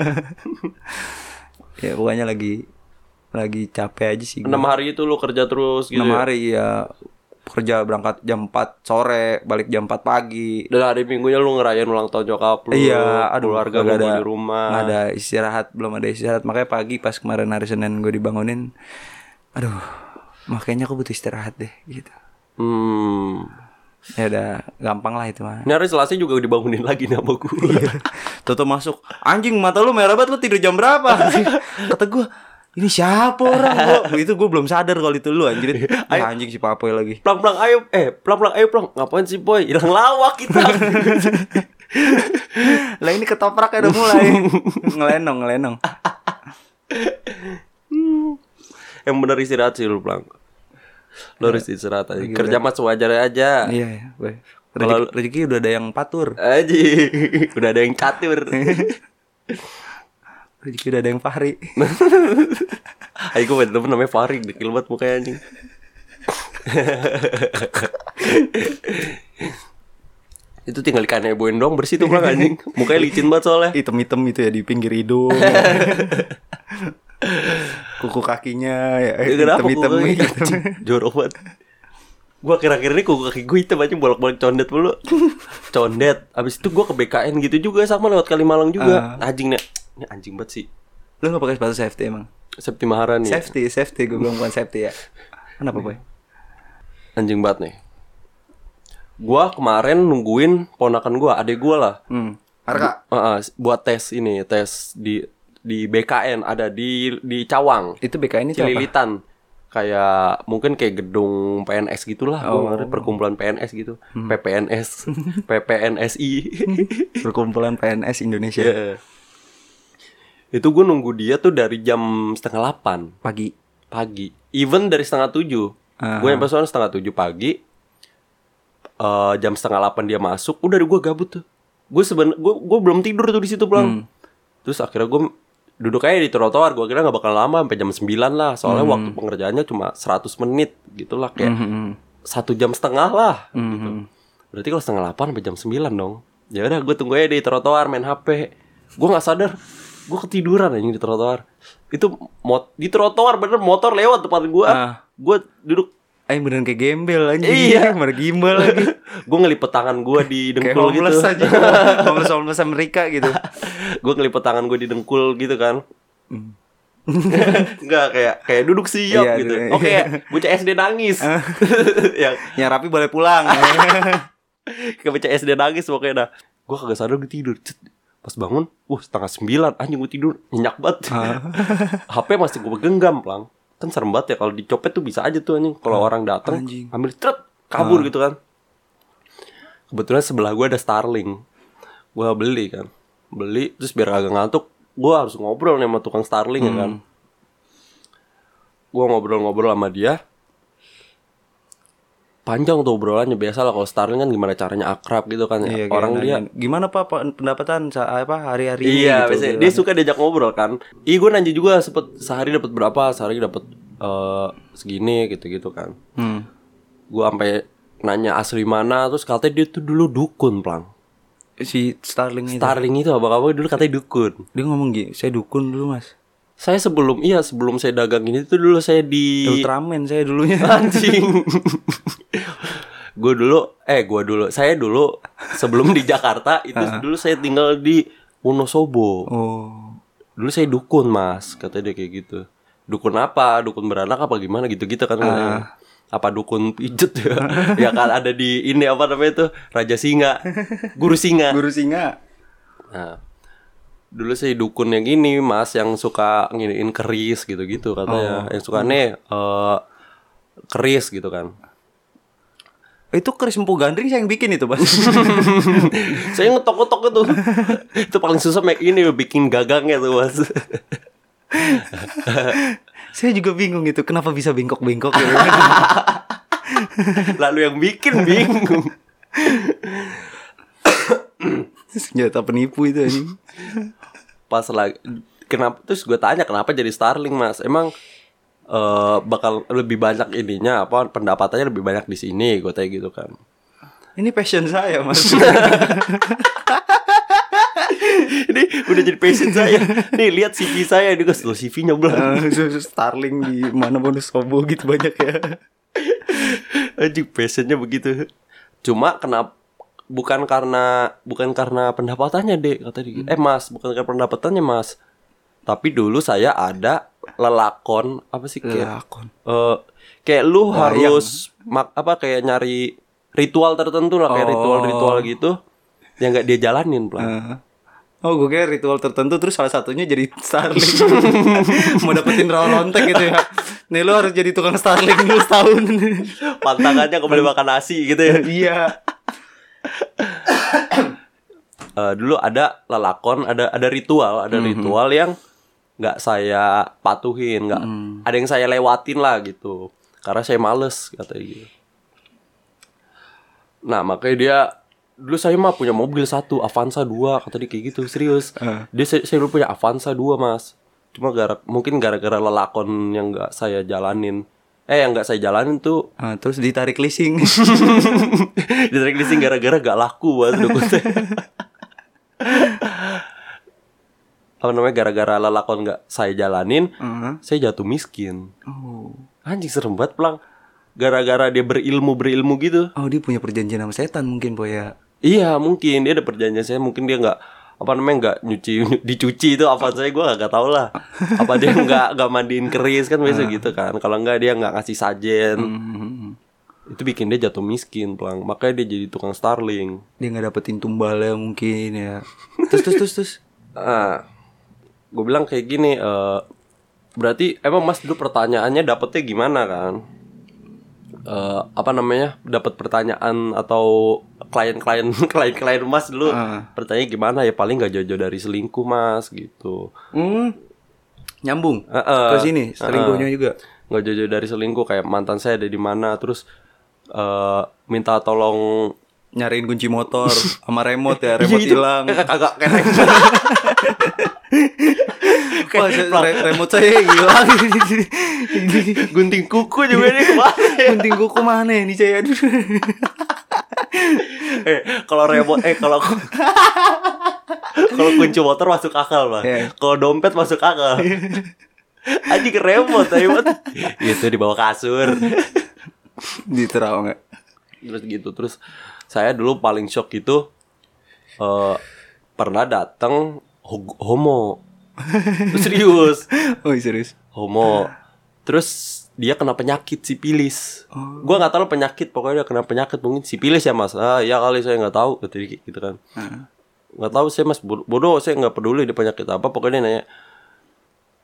[SPEAKER 2] ya pokoknya lagi lagi capek aja sih
[SPEAKER 1] enam
[SPEAKER 2] gua.
[SPEAKER 1] hari itu lu kerja terus gitu ya?
[SPEAKER 2] enam hari ya kerja berangkat jam 4 sore balik jam 4 pagi
[SPEAKER 1] dan hari minggunya lu ngerayain ulang tahun nyokap lu
[SPEAKER 2] Iya, aduh
[SPEAKER 1] keluarga
[SPEAKER 2] gak
[SPEAKER 1] kumpul di rumah
[SPEAKER 2] gak ada istirahat, belum ada istirahat. Makanya pagi pas kemarin hari Senin gue dibangunin, aduh, makanya aku butuh istirahat deh gitu.
[SPEAKER 1] hmm
[SPEAKER 2] Ya udah, gampang lah itu mah.
[SPEAKER 1] ini hari selasa juga dibangunin lagi nih sama gua
[SPEAKER 2] Toto masuk, anjing mata lu merah banget lu tidur jam berapa? Kata gue, ini siapa orang? Gua, itu gue belum sadar kalau itu lu anjir. Ya, anjing si Papoy lagi.
[SPEAKER 1] pelang pelang ayo eh pelang pelang ayo pelang ngapain sih boy hilang lawak kita
[SPEAKER 2] lah ini ketoprak udah mulai ngelenong ngelenong.
[SPEAKER 1] yang bener istirahat sih lu pelang lu harus istirahat aja kerja mas wajarnya aja
[SPEAKER 2] Iya, iya, gue. Rezeki, rezeki udah ada yang patur,
[SPEAKER 1] aji udah ada yang catur
[SPEAKER 2] rezeki udah ada yang pahri.
[SPEAKER 1] ayo gue bener namanya Farid dekil banget mukanya anjing itu tinggal dikaneboin doang bersih tuh pelang anjing mukanya licin banget soalnya
[SPEAKER 2] hitam-hitam gitu ya di pinggir hidung kuku kakinya ya
[SPEAKER 1] Ya, kenapa
[SPEAKER 2] hitam-hitam gitu.
[SPEAKER 1] kuku kaki
[SPEAKER 2] hitam.
[SPEAKER 1] anjing? jorok banget Gue akhir-akhir ini kuku kaki gue hitam aja bolak-balik condet mulu Condet Abis itu gue ke BKN gitu juga sama lewat Kalimalang juga Anjing nih Ini anjing banget sih
[SPEAKER 2] lu nggak pakai sepatu safety emang
[SPEAKER 1] Septi Maharani
[SPEAKER 2] safety safety gue bilang bukan safety ya kenapa boy
[SPEAKER 1] Anjing banget nih Gue kemarin nungguin ponakan gue Adek gue lah
[SPEAKER 2] hmm. Arka
[SPEAKER 1] Heeh, Buat tes ini Tes di di BKN ada di di Cawang
[SPEAKER 2] itu BKN itu apa
[SPEAKER 1] Cililitan kayak mungkin kayak gedung PNS gitulah
[SPEAKER 2] Oh.
[SPEAKER 1] gua ngerti, perkumpulan PNS gitu
[SPEAKER 2] Hmm.
[SPEAKER 1] PPNS PPNSI
[SPEAKER 2] perkumpulan PNS Indonesia
[SPEAKER 1] Iya. itu gue nunggu dia tuh dari jam setengah delapan
[SPEAKER 2] pagi
[SPEAKER 1] pagi even dari setengah tujuh
[SPEAKER 2] Ah.
[SPEAKER 1] gue yang soalnya setengah tujuh pagi Eh, jam setengah delapan dia masuk udah gue gabut tuh gue seben gue gue belum tidur tuh di situ pulang terus akhirnya gue duduk aja di trotoar gue kira nggak bakal lama sampai jam 9 lah soalnya waktu pengerjaannya cuma 100 menit gitulah kayak
[SPEAKER 2] Mhm.
[SPEAKER 1] satu jam setengah lah gitu.
[SPEAKER 2] Mhm.
[SPEAKER 1] Berarti kalau setengah delapan sampai jam sembilan dong. Ya udah gue tunggu aja di trotoar main HP. Gue nggak sadar gue ketiduran anjing di trotoar. Itu mot di trotoar bener motor lewat depan gue.
[SPEAKER 2] Ah.
[SPEAKER 1] Gue duduk
[SPEAKER 2] Ay Eh, beneran kayak gembel aja
[SPEAKER 1] Iya.
[SPEAKER 2] Mana gimbal lagi
[SPEAKER 1] gue ngelipet tangan gue di
[SPEAKER 2] Kayak
[SPEAKER 1] dengkul gitu.
[SPEAKER 2] homeless aja Homeless homeless Amerika gitu
[SPEAKER 1] gue ngelipet tangan gue di dengkul gitu kan. Enggak kayak kayak duduk siap
[SPEAKER 2] Hmm. Iya, Ah.
[SPEAKER 1] gitu.
[SPEAKER 2] duduk-
[SPEAKER 1] Oke, bocah SD nangis. yang
[SPEAKER 2] Yang rapi boleh pulang Iya,
[SPEAKER 1] ke BCSD nangis pokoknya dah gue kagak sadar gue tidur Cet. pas bangun wah setengah sembilan anjing gue tidur nyenyak banget
[SPEAKER 2] Ah.
[SPEAKER 1] HP masih gue genggam pelang kan serem banget ya kalau dicopet tuh bisa aja tuh anjing kalau orang datang
[SPEAKER 2] Ah. Anjing. Ah.
[SPEAKER 1] ambil ceret kabur gitu kan kebetulan sebelah gue ada Starling gue beli kan beli terus biar agak ngantuk gue harus ngobrol nih sama tukang Starling ya
[SPEAKER 2] Hmm.
[SPEAKER 1] kan gue ngobrol-ngobrol sama dia panjang tuh obrolannya biasa lah kalau Starling kan gimana caranya akrab gitu kan
[SPEAKER 2] Iya, kayak
[SPEAKER 1] orang dia
[SPEAKER 2] nanyain, Gimana pak pe- pendapatan sa- apa hari-hari ini?"
[SPEAKER 1] Iya,
[SPEAKER 2] gitu,
[SPEAKER 1] biasanya
[SPEAKER 2] bilang.
[SPEAKER 1] dia suka diajak ngobrol kan. Ih, gue nanya juga sempet sehari dapat berapa, sehari dapat eh, segini gitu-gitu kan.
[SPEAKER 2] Hmm.
[SPEAKER 1] Gue sampai nanya asli mana, terus katanya dia tuh dulu dukun, Plang.
[SPEAKER 2] si Starling itu.
[SPEAKER 1] Starling itu abang-abang dulu katanya dukun.
[SPEAKER 2] Dia ngomong gini, saya dukun dulu mas.
[SPEAKER 1] Saya sebelum iya, sebelum saya dagang ini tuh dulu saya
[SPEAKER 2] Iya.
[SPEAKER 1] di
[SPEAKER 2] Ultraman saya dulunya.
[SPEAKER 1] anjing. gue dulu eh gue dulu, saya dulu sebelum di Jakarta itu dulu saya tinggal di Wonosobo.
[SPEAKER 2] Oh,
[SPEAKER 1] dulu saya dukun mas katanya dia kayak gitu dukun apa dukun beranak apa gimana gitu gitu kan katanya. apa dukun pijet ya, ya kan ada di ini apa namanya itu raja singa guru singa
[SPEAKER 2] Guru singa.
[SPEAKER 1] Nah, dulu sih dukun yang ini mas yang suka nginiin keris gitu-gitu katanya yang suka nih eh, keris gitu kan
[SPEAKER 2] Itu keris empu gandring saya yang bikin itu, Bas.
[SPEAKER 1] saya ngetok-ngetok itu itu paling susah make ini bikin gagangnya tuh mas
[SPEAKER 2] saya juga bingung itu kenapa bisa bengkok-bengkok gitu.
[SPEAKER 1] lalu yang bikin bingung
[SPEAKER 2] Senjata penipu itu anjing.
[SPEAKER 1] pas lagi kenapa terus gue tanya kenapa jadi Starling mas emang eh, bakal lebih banyak ininya apa pendapatannya lebih banyak di sini gue tanya gitu kan
[SPEAKER 2] Ini passion saya, Mas.
[SPEAKER 1] ini udah jadi passion saya nih lihat CV saya ini gue CV-nya belum
[SPEAKER 2] Eh, Starling di mana bonus sobo gitu banyak ya.
[SPEAKER 1] Anjing passionnya begitu. Cuma kenapa bukan karena bukan karena pendapatannya dek kata dia.
[SPEAKER 2] Hmm.
[SPEAKER 1] Eh mas bukan karena pendapatannya mas. Tapi dulu saya ada lelakon apa sih kayak
[SPEAKER 2] Lakon.
[SPEAKER 1] eh, kayak lu
[SPEAKER 2] Wayang.
[SPEAKER 1] harus mak apa kayak nyari ritual tertentu lah kayak
[SPEAKER 2] Oh.
[SPEAKER 1] ritual-ritual gitu yang nggak dia jalanin pelan.
[SPEAKER 2] Eh. Oh gue kira ritual tertentu terus salah satunya jadi starling Mau dapetin rawa lonteng gitu ya Nih lo harus jadi tukang starling dulu setahun
[SPEAKER 1] Pantangannya nggak boleh makan nasi gitu ya.
[SPEAKER 2] Iya
[SPEAKER 1] Eh, dulu ada lelakon, ada ada ritual, ada ritual yang nggak saya patuhin, nggak ada yang saya lewatin lah gitu, karena saya males katanya gitu. Nah makanya dia dulu saya mah punya mobil satu, Avanza dua, kata dia kayak gitu serius.
[SPEAKER 2] Eh.
[SPEAKER 1] Dia saya, saya dulu punya Avanza dua mas, cuma gara mungkin gara-gara lelakon yang nggak saya jalanin, eh yang nggak saya jalanin tuh
[SPEAKER 2] Ah, Terus ditarik leasing
[SPEAKER 1] Ditarik leasing gara-gara gak laku banget dukun teh. Apa namanya gara-gara lelakon gak saya jalanin,
[SPEAKER 2] Heeh.
[SPEAKER 1] saya jatuh miskin.
[SPEAKER 2] oh.
[SPEAKER 1] Anjing serem banget pelang. Gara-gara dia berilmu berilmu gitu.
[SPEAKER 2] oh dia punya perjanjian sama setan mungkin boy ya
[SPEAKER 1] Iya mungkin dia ada perjanjian saya mungkin dia nggak apa namanya nggak nyuci dicuci itu apa saya gue nggak tahu lah apa dia nggak nggak mandiin keris kan biasa gitu kan kalau nggak dia nggak ngasih sajen
[SPEAKER 2] Mhm.
[SPEAKER 1] itu bikin dia jatuh miskin pelang makanya dia jadi tukang starling
[SPEAKER 2] Dia nggak dapetin tumbalnya mungkin ya Terus terus terus terus
[SPEAKER 1] Ah, gue bilang kayak gini, eh, berarti emang Mas dulu pertanyaannya dapetnya gimana kan? Eh, apa namanya dapat pertanyaan atau klien-klien klien-klien Mas dulu
[SPEAKER 2] Ah.
[SPEAKER 1] pertanyaan gimana ya paling nggak jauh-jauh dari selingkuh Mas gitu
[SPEAKER 2] Hmm. Nyambung
[SPEAKER 1] Eh, eh.
[SPEAKER 2] Ke sini selingkuhnya juga
[SPEAKER 1] nggak jauh-jauh dari selingkuh kayak mantan saya ada di mana terus eh, minta tolong
[SPEAKER 2] Nyariin kunci motor sama remote ya Remote hilang
[SPEAKER 1] agak keren
[SPEAKER 2] Wah, saya- re- remote saya hilang.
[SPEAKER 1] gunting kuku juga nih kemarin
[SPEAKER 2] Gunting kuku mana ini saya? Aduh.
[SPEAKER 1] eh kalau remote eh kalau kalau kunci motor masuk akal lah
[SPEAKER 2] Iya.
[SPEAKER 1] kalau dompet masuk akal anjing remote remote itu di bawah Gitu, kasur
[SPEAKER 2] Diterau nggak?
[SPEAKER 1] terus gitu terus saya dulu paling shock gitu eh pernah datang ho- homo serius
[SPEAKER 2] Oh serius?
[SPEAKER 1] homo terus dia kena penyakit sipilis gua nggak tahu penyakit pokoknya dia kena penyakit mungkin sipilis ya mas ah ya kali saya nggak tahu gitu, gitu kan nggak tahu saya mas bod- bodoh saya nggak peduli dia penyakit apa pokoknya dia nanya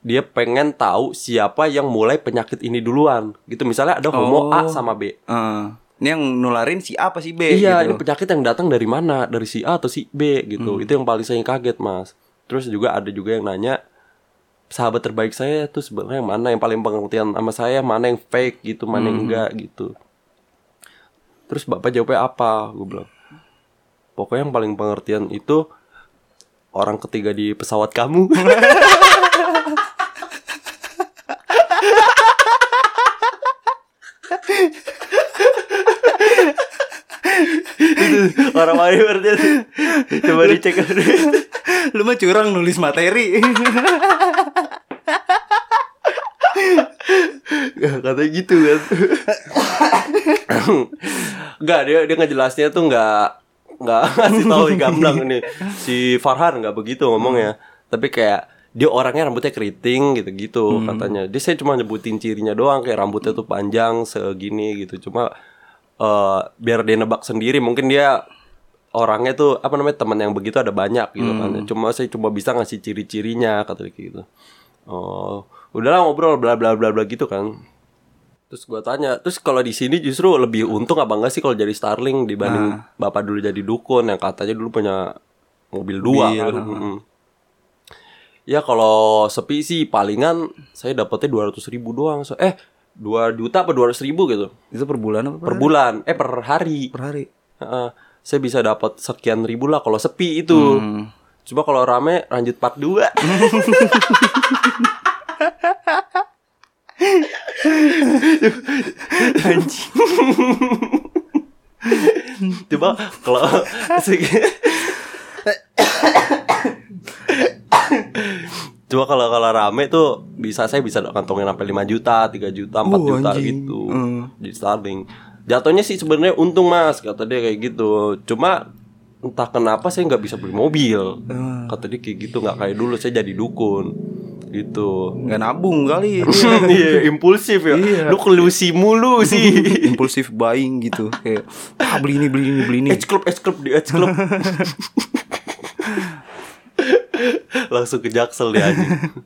[SPEAKER 1] dia pengen tahu siapa yang mulai penyakit ini duluan gitu misalnya ada homo
[SPEAKER 2] Oh.
[SPEAKER 1] A sama B
[SPEAKER 2] Eh, ini yang nularin si A apa si B?
[SPEAKER 1] iya ini
[SPEAKER 2] gitu.
[SPEAKER 1] penyakit yang datang dari mana dari si A atau si B gitu itu yang paling saya kaget mas terus juga ada juga yang nanya sahabat terbaik saya tuh sebenarnya yang mana yang paling pengertian sama saya mana yang fake gitu mana yang enggak gitu terus bapak jawabnya apa gue bilang pokoknya yang paling pengertian itu orang ketiga di pesawat kamu Itu orang mana berarti itu. coba dicek
[SPEAKER 2] Lu mah curang nulis materi.
[SPEAKER 1] katanya gitu kan Enggak dia dia ngejelasnya tuh nggak nggak ngasih tahu gamblang ini si Farhan nggak begitu ngomongnya tapi kayak dia orangnya rambutnya keriting gitu-gitu katanya. Dia saya cuma nyebutin cirinya doang kayak rambutnya tuh panjang segini gitu. Cuma eh biar dia nebak sendiri mungkin dia orangnya tuh apa namanya teman yang begitu ada banyak gitu kan. Cuma saya cuma bisa ngasih ciri-cirinya kata dia kayak gitu. Oh, udahlah ngobrol bla bla bla bla gitu kan. Terus gua tanya, terus kalau di sini justru lebih untung apa enggak sih kalau jadi Starling dibanding bapak dulu jadi dukun yang katanya dulu punya mobil dua kan. Mm-mm. Ya kalau sepi sih palingan saya dapetnya 200 ribu doang. So, eh 2 juta apa 200 ribu gitu
[SPEAKER 2] Itu per bulan apa per,
[SPEAKER 1] per bulan, eh per hari.
[SPEAKER 2] per hari?
[SPEAKER 1] Heeh. saya bisa dapat sekian ribu lah kalau sepi itu. Coba kalau rame lanjut part 2. Anjing. Coba kalau Coba kalau kalau rame tuh bisa saya bisa kantongin sampai 5 juta, 3 juta, 4
[SPEAKER 2] Oh,
[SPEAKER 1] juta
[SPEAKER 2] anjing.
[SPEAKER 1] gitu di Starling. Jatuhnya sih sebenarnya untung mas kata dia kayak gitu. Cuma entah kenapa saya nggak bisa beli mobil. Kata dia kayak gitu nggak kayak dulu saya jadi dukun gitu.
[SPEAKER 2] Nggak nabung kali
[SPEAKER 1] Iya impulsif ya. Lu kelusi mulu sih.
[SPEAKER 2] Impulsif buying gitu Kayak ah, beli ini, beli ini, beli ini
[SPEAKER 1] Edge Club, Edge Club, di Edge Club. Langsung ke Jaksel dia anjing.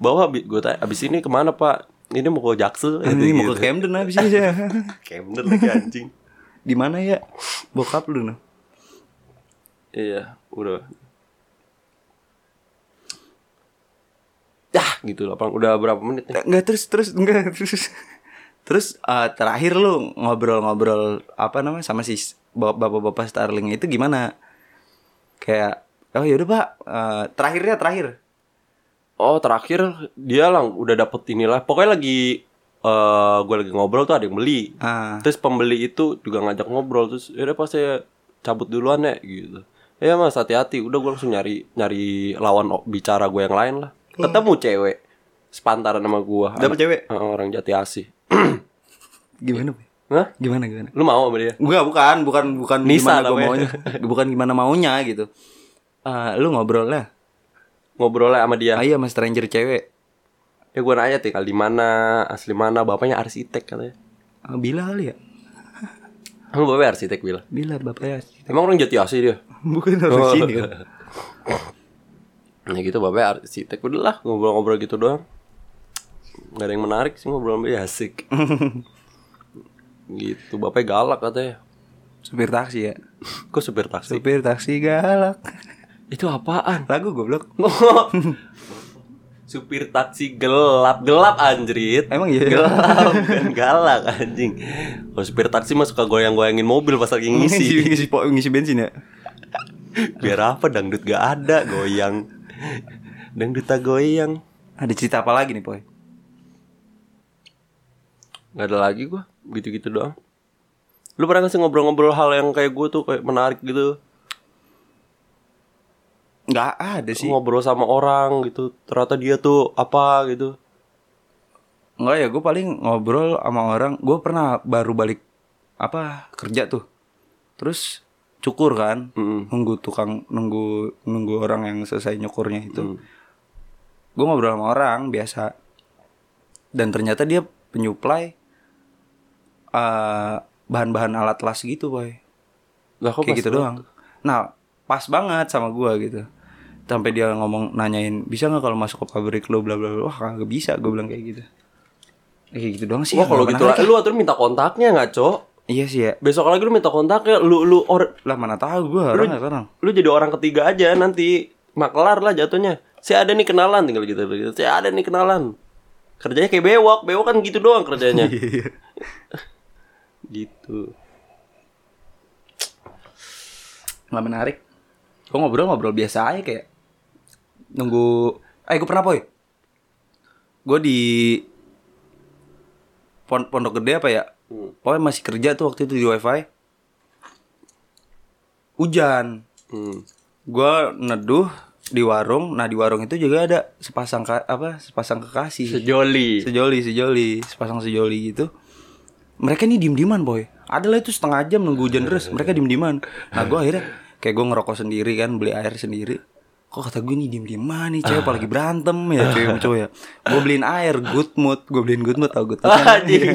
[SPEAKER 1] Bawa gue tanya, abis ini kemana pak? Ini mau ke Jaksel?
[SPEAKER 2] Ini mau
[SPEAKER 1] gitu.
[SPEAKER 2] ke Camden habis ini saya
[SPEAKER 1] Camden lagi anjing.
[SPEAKER 2] Di mana ya? Bokap lu nah
[SPEAKER 1] Iya, udah. Yah, gitu lah, Bang. Udah berapa menit nih?
[SPEAKER 2] Enggak terus terus enggak terus. Terus eh, terakhir lu ngobrol-ngobrol apa namanya sama si s- bap- bapak-bapak Starling itu gimana? Kayak oh yaudah pak eh, terakhirnya terakhir.
[SPEAKER 1] Oh, terakhir dia lang udah dapet inilah. Pokoknya lagi eh gue lagi ngobrol tuh ada yang beli.
[SPEAKER 2] Ah.
[SPEAKER 1] Terus pembeli itu juga ngajak ngobrol terus ya pas saya cabut duluan ya gitu. Ya mas hati-hati, udah gue langsung nyari nyari lawan o- bicara gue yang lain lah. Ketemu cewek sepantaran sama gue.
[SPEAKER 2] Hmm. Dapet cewek?
[SPEAKER 1] Heeh, orang jati asih.
[SPEAKER 2] Gimana? Pak?
[SPEAKER 1] Hah?
[SPEAKER 2] Gimana gimana?
[SPEAKER 1] Lu mau sama dia?
[SPEAKER 2] Enggak bukan bukan bukan
[SPEAKER 1] Nisa
[SPEAKER 2] gimana gua
[SPEAKER 1] namanya.
[SPEAKER 2] maunya. bukan gimana maunya gitu. Eh, lu ngobrol lah.
[SPEAKER 1] Ngobrol lah sama dia.
[SPEAKER 2] Ah, iya mas stranger cewek.
[SPEAKER 1] Ya gue nanya tinggal di mana, asli mana, bapaknya arsitek katanya.
[SPEAKER 2] Ah, Bila kali ya?
[SPEAKER 1] Lu bapaknya arsitek bilang.
[SPEAKER 2] Bila bapaknya
[SPEAKER 1] Emang orang jati asih dia?
[SPEAKER 2] bukan orang sini kan?
[SPEAKER 1] Ya gitu bapaknya arsitek udah lah ngobrol-ngobrol gitu doang Gak ada yang menarik sih ngobrol sama dia asik Gitu bapaknya galak katanya
[SPEAKER 2] Supir taksi ya.
[SPEAKER 1] Kok supir taksi?
[SPEAKER 2] Supir taksi galak.
[SPEAKER 1] Itu apaan?
[SPEAKER 2] Lagu goblok.
[SPEAKER 1] supir taksi gelap Gelap anjrit
[SPEAKER 2] Emang iya?
[SPEAKER 1] Gelap bukan galak anjing Kalau supir taksi mah suka goyang-goyangin mobil pas lagi
[SPEAKER 2] ngisi
[SPEAKER 1] ngisi
[SPEAKER 2] ngisi po- ngisi bensin ya
[SPEAKER 1] Biar apa dangdut gak ada goyang Dangdut tak goyang
[SPEAKER 2] ada cerita apa lagi nih poy
[SPEAKER 1] Gak ada lagi gua Gitu-gitu doang Lu pernah gak sih ngobrol-ngobrol hal yang kayak gue tuh Kayak menarik gitu
[SPEAKER 2] nggak ada sih
[SPEAKER 1] Ngobrol sama orang gitu Ternyata dia tuh apa gitu
[SPEAKER 2] nggak ya gue paling ngobrol sama orang gue pernah baru balik apa kerja tuh terus cukur kan
[SPEAKER 1] Mm-mm.
[SPEAKER 2] nunggu tukang nunggu nunggu orang yang selesai nyukurnya itu gue ngobrol sama orang biasa dan ternyata dia penyuplai eh, bahan-bahan alat las gitu boy
[SPEAKER 1] Lah kok
[SPEAKER 2] kayak
[SPEAKER 1] pas
[SPEAKER 2] gitu
[SPEAKER 1] lu-
[SPEAKER 2] doang. Nah, pas banget sama gua gitu. Sampai dia ngomong nanyain, "Bisa nggak kalau masuk ke pabrik lo bla bla bla." Wah, kagak bisa gua bilang kayak gitu. Ya, Kayak gitu doang sih.
[SPEAKER 1] Wah kalau
[SPEAKER 2] nggak
[SPEAKER 1] gitu
[SPEAKER 2] menarik.
[SPEAKER 1] lah Lu atur minta kontaknya gak cok
[SPEAKER 2] Iya sih ya.
[SPEAKER 1] Besok lagi lu minta kontaknya Lu lu or,
[SPEAKER 2] Lah mana tahu gua orang nggak orang.
[SPEAKER 1] lu jadi orang ketiga aja nanti Maklar lah jatuhnya Saya ada nih kenalan tinggal gitu, gitu. Saya ada nih kenalan Kerjanya kayak bewok Bewok kan gitu doang kerjanya
[SPEAKER 2] Iya.
[SPEAKER 1] Gitu
[SPEAKER 2] Nggak menarik. Gua ngobrol-ngobrol biasa aja kayak nunggu eh gua pernah poy. Gua di Pon- pondok gede apa ya? Pokoknya masih kerja tuh waktu itu di wifi. Hujan.
[SPEAKER 1] hmm.
[SPEAKER 2] gue neduh di warung nah di warung itu juga ada sepasang ka- apa sepasang kekasih
[SPEAKER 1] Sejoli
[SPEAKER 2] sejoli sejoli sepasang sejoli gitu mereka ini diem dieman boy ada lah itu setengah jam nunggu hujan deras mereka diem dieman nah gue akhirnya kayak gue ngerokok sendiri kan beli air sendiri kok kata gue nih diem diem mana nih cewek apalagi berantem ya cewek sama cowok ya gue beliin air good mood gue beliin good mood tau good mood kan?
[SPEAKER 1] Anjing.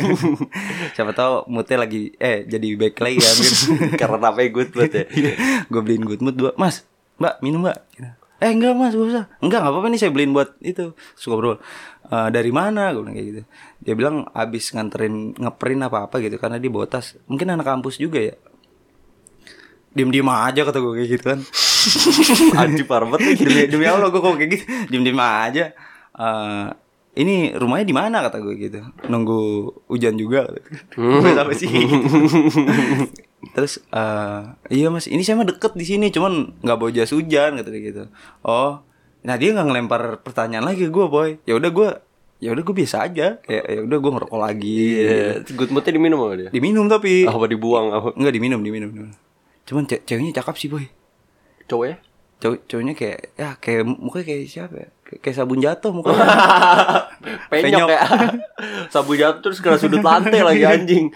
[SPEAKER 2] siapa tahu moodnya lagi eh jadi back lagi ya mungkin
[SPEAKER 1] Karena apa good mood ya.
[SPEAKER 2] gue Iya. beliin good mood dua mas mbak minum mbak Gitu. eh enggak mas gue usah enggak nggak apa-apa nih saya beliin buat itu suka bro "Eh, dari mana gue bilang kayak gitu dia bilang abis nganterin ngeprint apa apa gitu karena dia bawa tas mungkin anak kampus juga ya diem diem aja kata gue kayak gitu kan
[SPEAKER 1] Anjing parah banget.
[SPEAKER 2] demi demi allah gue kok kayak gitu diem diem aja Eh, ini rumahnya di mana kata gue gitu nunggu hujan juga gue sampai sih terus eh, iya mas ini saya mah deket di sini cuman nggak bawa jas hujan kata dia gitu oh nah dia nggak ngelempar pertanyaan lagi ke gue boy ya udah gue ya udah gue biasa aja kayak ya udah gue ngerokok lagi
[SPEAKER 1] Iya, Oh. good moodnya diminum sama dia.
[SPEAKER 2] diminum tapi
[SPEAKER 1] Apa dibuang apa?
[SPEAKER 2] nggak diminum diminum, diminum. cuman ce- ceweknya cakep sih boy
[SPEAKER 1] Cowoknya?
[SPEAKER 2] cowok cowoknya kayak ya kayak mukanya kayak siapa ya? Kay- kayak sabun jatuh mukanya
[SPEAKER 1] Penyok
[SPEAKER 2] Penyok.
[SPEAKER 1] ya. Sabu jatuh terus kena sudut lantai lagi anjing.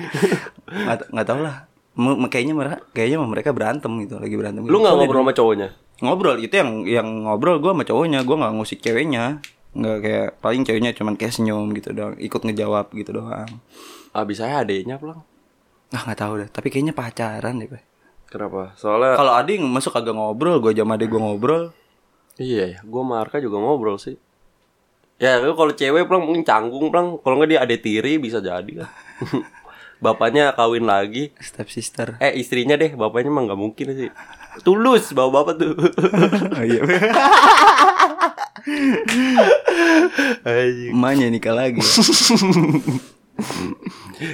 [SPEAKER 2] nggak ta- nggak tahu lah M- m- kayaknya mereka kayaknya sama mereka berantem gitu lagi berantem gitu.
[SPEAKER 1] Lu nggak
[SPEAKER 2] Soalnya
[SPEAKER 1] ngobrol sama cowoknya?
[SPEAKER 2] ngobrol itu yang yang ngobrol gue sama cowoknya gue nggak ngusik ceweknya nggak kayak paling ceweknya cuman kayak senyum gitu doang ikut ngejawab gitu doang
[SPEAKER 1] Abis saya adeknya pulang.
[SPEAKER 2] ah nggak tahu deh tapi kayaknya pacaran deh Pak.
[SPEAKER 1] Kenapa? Soalnya
[SPEAKER 2] kalau ade masuk agak ngobrol gue sama ade gue ngobrol
[SPEAKER 1] iya, ya, gua sama Arka juga ngobrol sih. Ya, lu kalau cewek pulang mungkin canggung pulang. Kalau nggak dia adek tiri bisa jadi kan. Bapaknya kawin lagi.
[SPEAKER 2] step sister
[SPEAKER 1] Eh istrinya deh, bapaknya emang nggak mungkin sih. Tulus bawa bapak tuh.
[SPEAKER 2] Oh, iya.
[SPEAKER 1] Anjing.
[SPEAKER 2] emaknya nikah lagi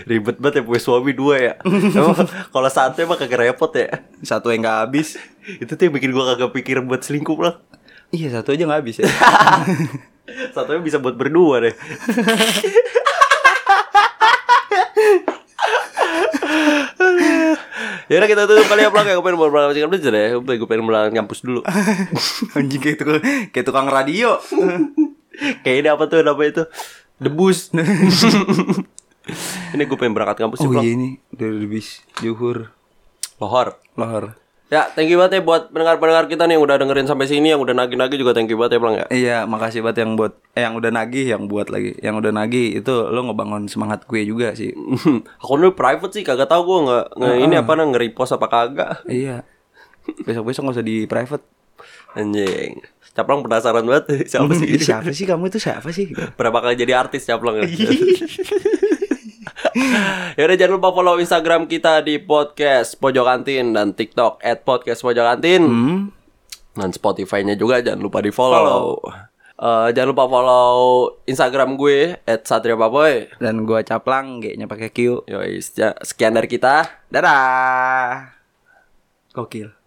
[SPEAKER 1] Ribet banget ya punya suami dua ya. Emang kalau satu emang kagak repot ya.
[SPEAKER 2] satu yang nggak habis
[SPEAKER 1] Itu tuh yang bikin gua kagak pikir buat selingkuh lah.
[SPEAKER 2] iya satu aja nggak habis ya
[SPEAKER 1] Satunya bisa buat berdua deh. Yaudah kita tutup kali ya Plang ya Gue pengen buat berangkat kampus aja deh Gue pengen berangkat kampus dulu
[SPEAKER 2] anjing kayak tukang, kayak tukang radio
[SPEAKER 1] Kayak ini apa tuh namanya itu Debus Ini gue pengen berangkat kampus sih
[SPEAKER 2] oh
[SPEAKER 1] Plang
[SPEAKER 2] iya ini dari bis juhur
[SPEAKER 1] Lohor
[SPEAKER 2] lohar
[SPEAKER 1] Ya thank you banget ya buat pendengar-pendengar kita nih Yang udah dengerin sampai sini Yang udah nagih-nagih juga thank you banget ya Plang ya
[SPEAKER 2] Iya, makasih banget yang buat eh, yang udah nagih, yang buat lagi. Yang udah nagih itu lo ngebangun semangat gue juga sih.
[SPEAKER 1] Akun lu private sih Kagak tau gue nggak nggak- Ini apa nang nge-repost apa kagak
[SPEAKER 2] iya. Besok-besok gak usah di private.
[SPEAKER 1] Anjing Caplang penasaran banget Siapa sih
[SPEAKER 2] Ini
[SPEAKER 1] ini?
[SPEAKER 2] siapa sih kamu itu siapa sih?
[SPEAKER 1] Berapa kali jadi artis Caplang ya? Yaudah jangan lupa follow Instagram kita di podcast Pojok Kantin dan TikTok at podcast Pojok Kantin dan Spotify-nya juga jangan lupa di follow. jangan lupa follow Instagram gue at Satria Papoy.
[SPEAKER 2] Dan gua caplang G-nya pakai Q.
[SPEAKER 1] Yoi, sekian dari kita.
[SPEAKER 2] Dadah. Gokil.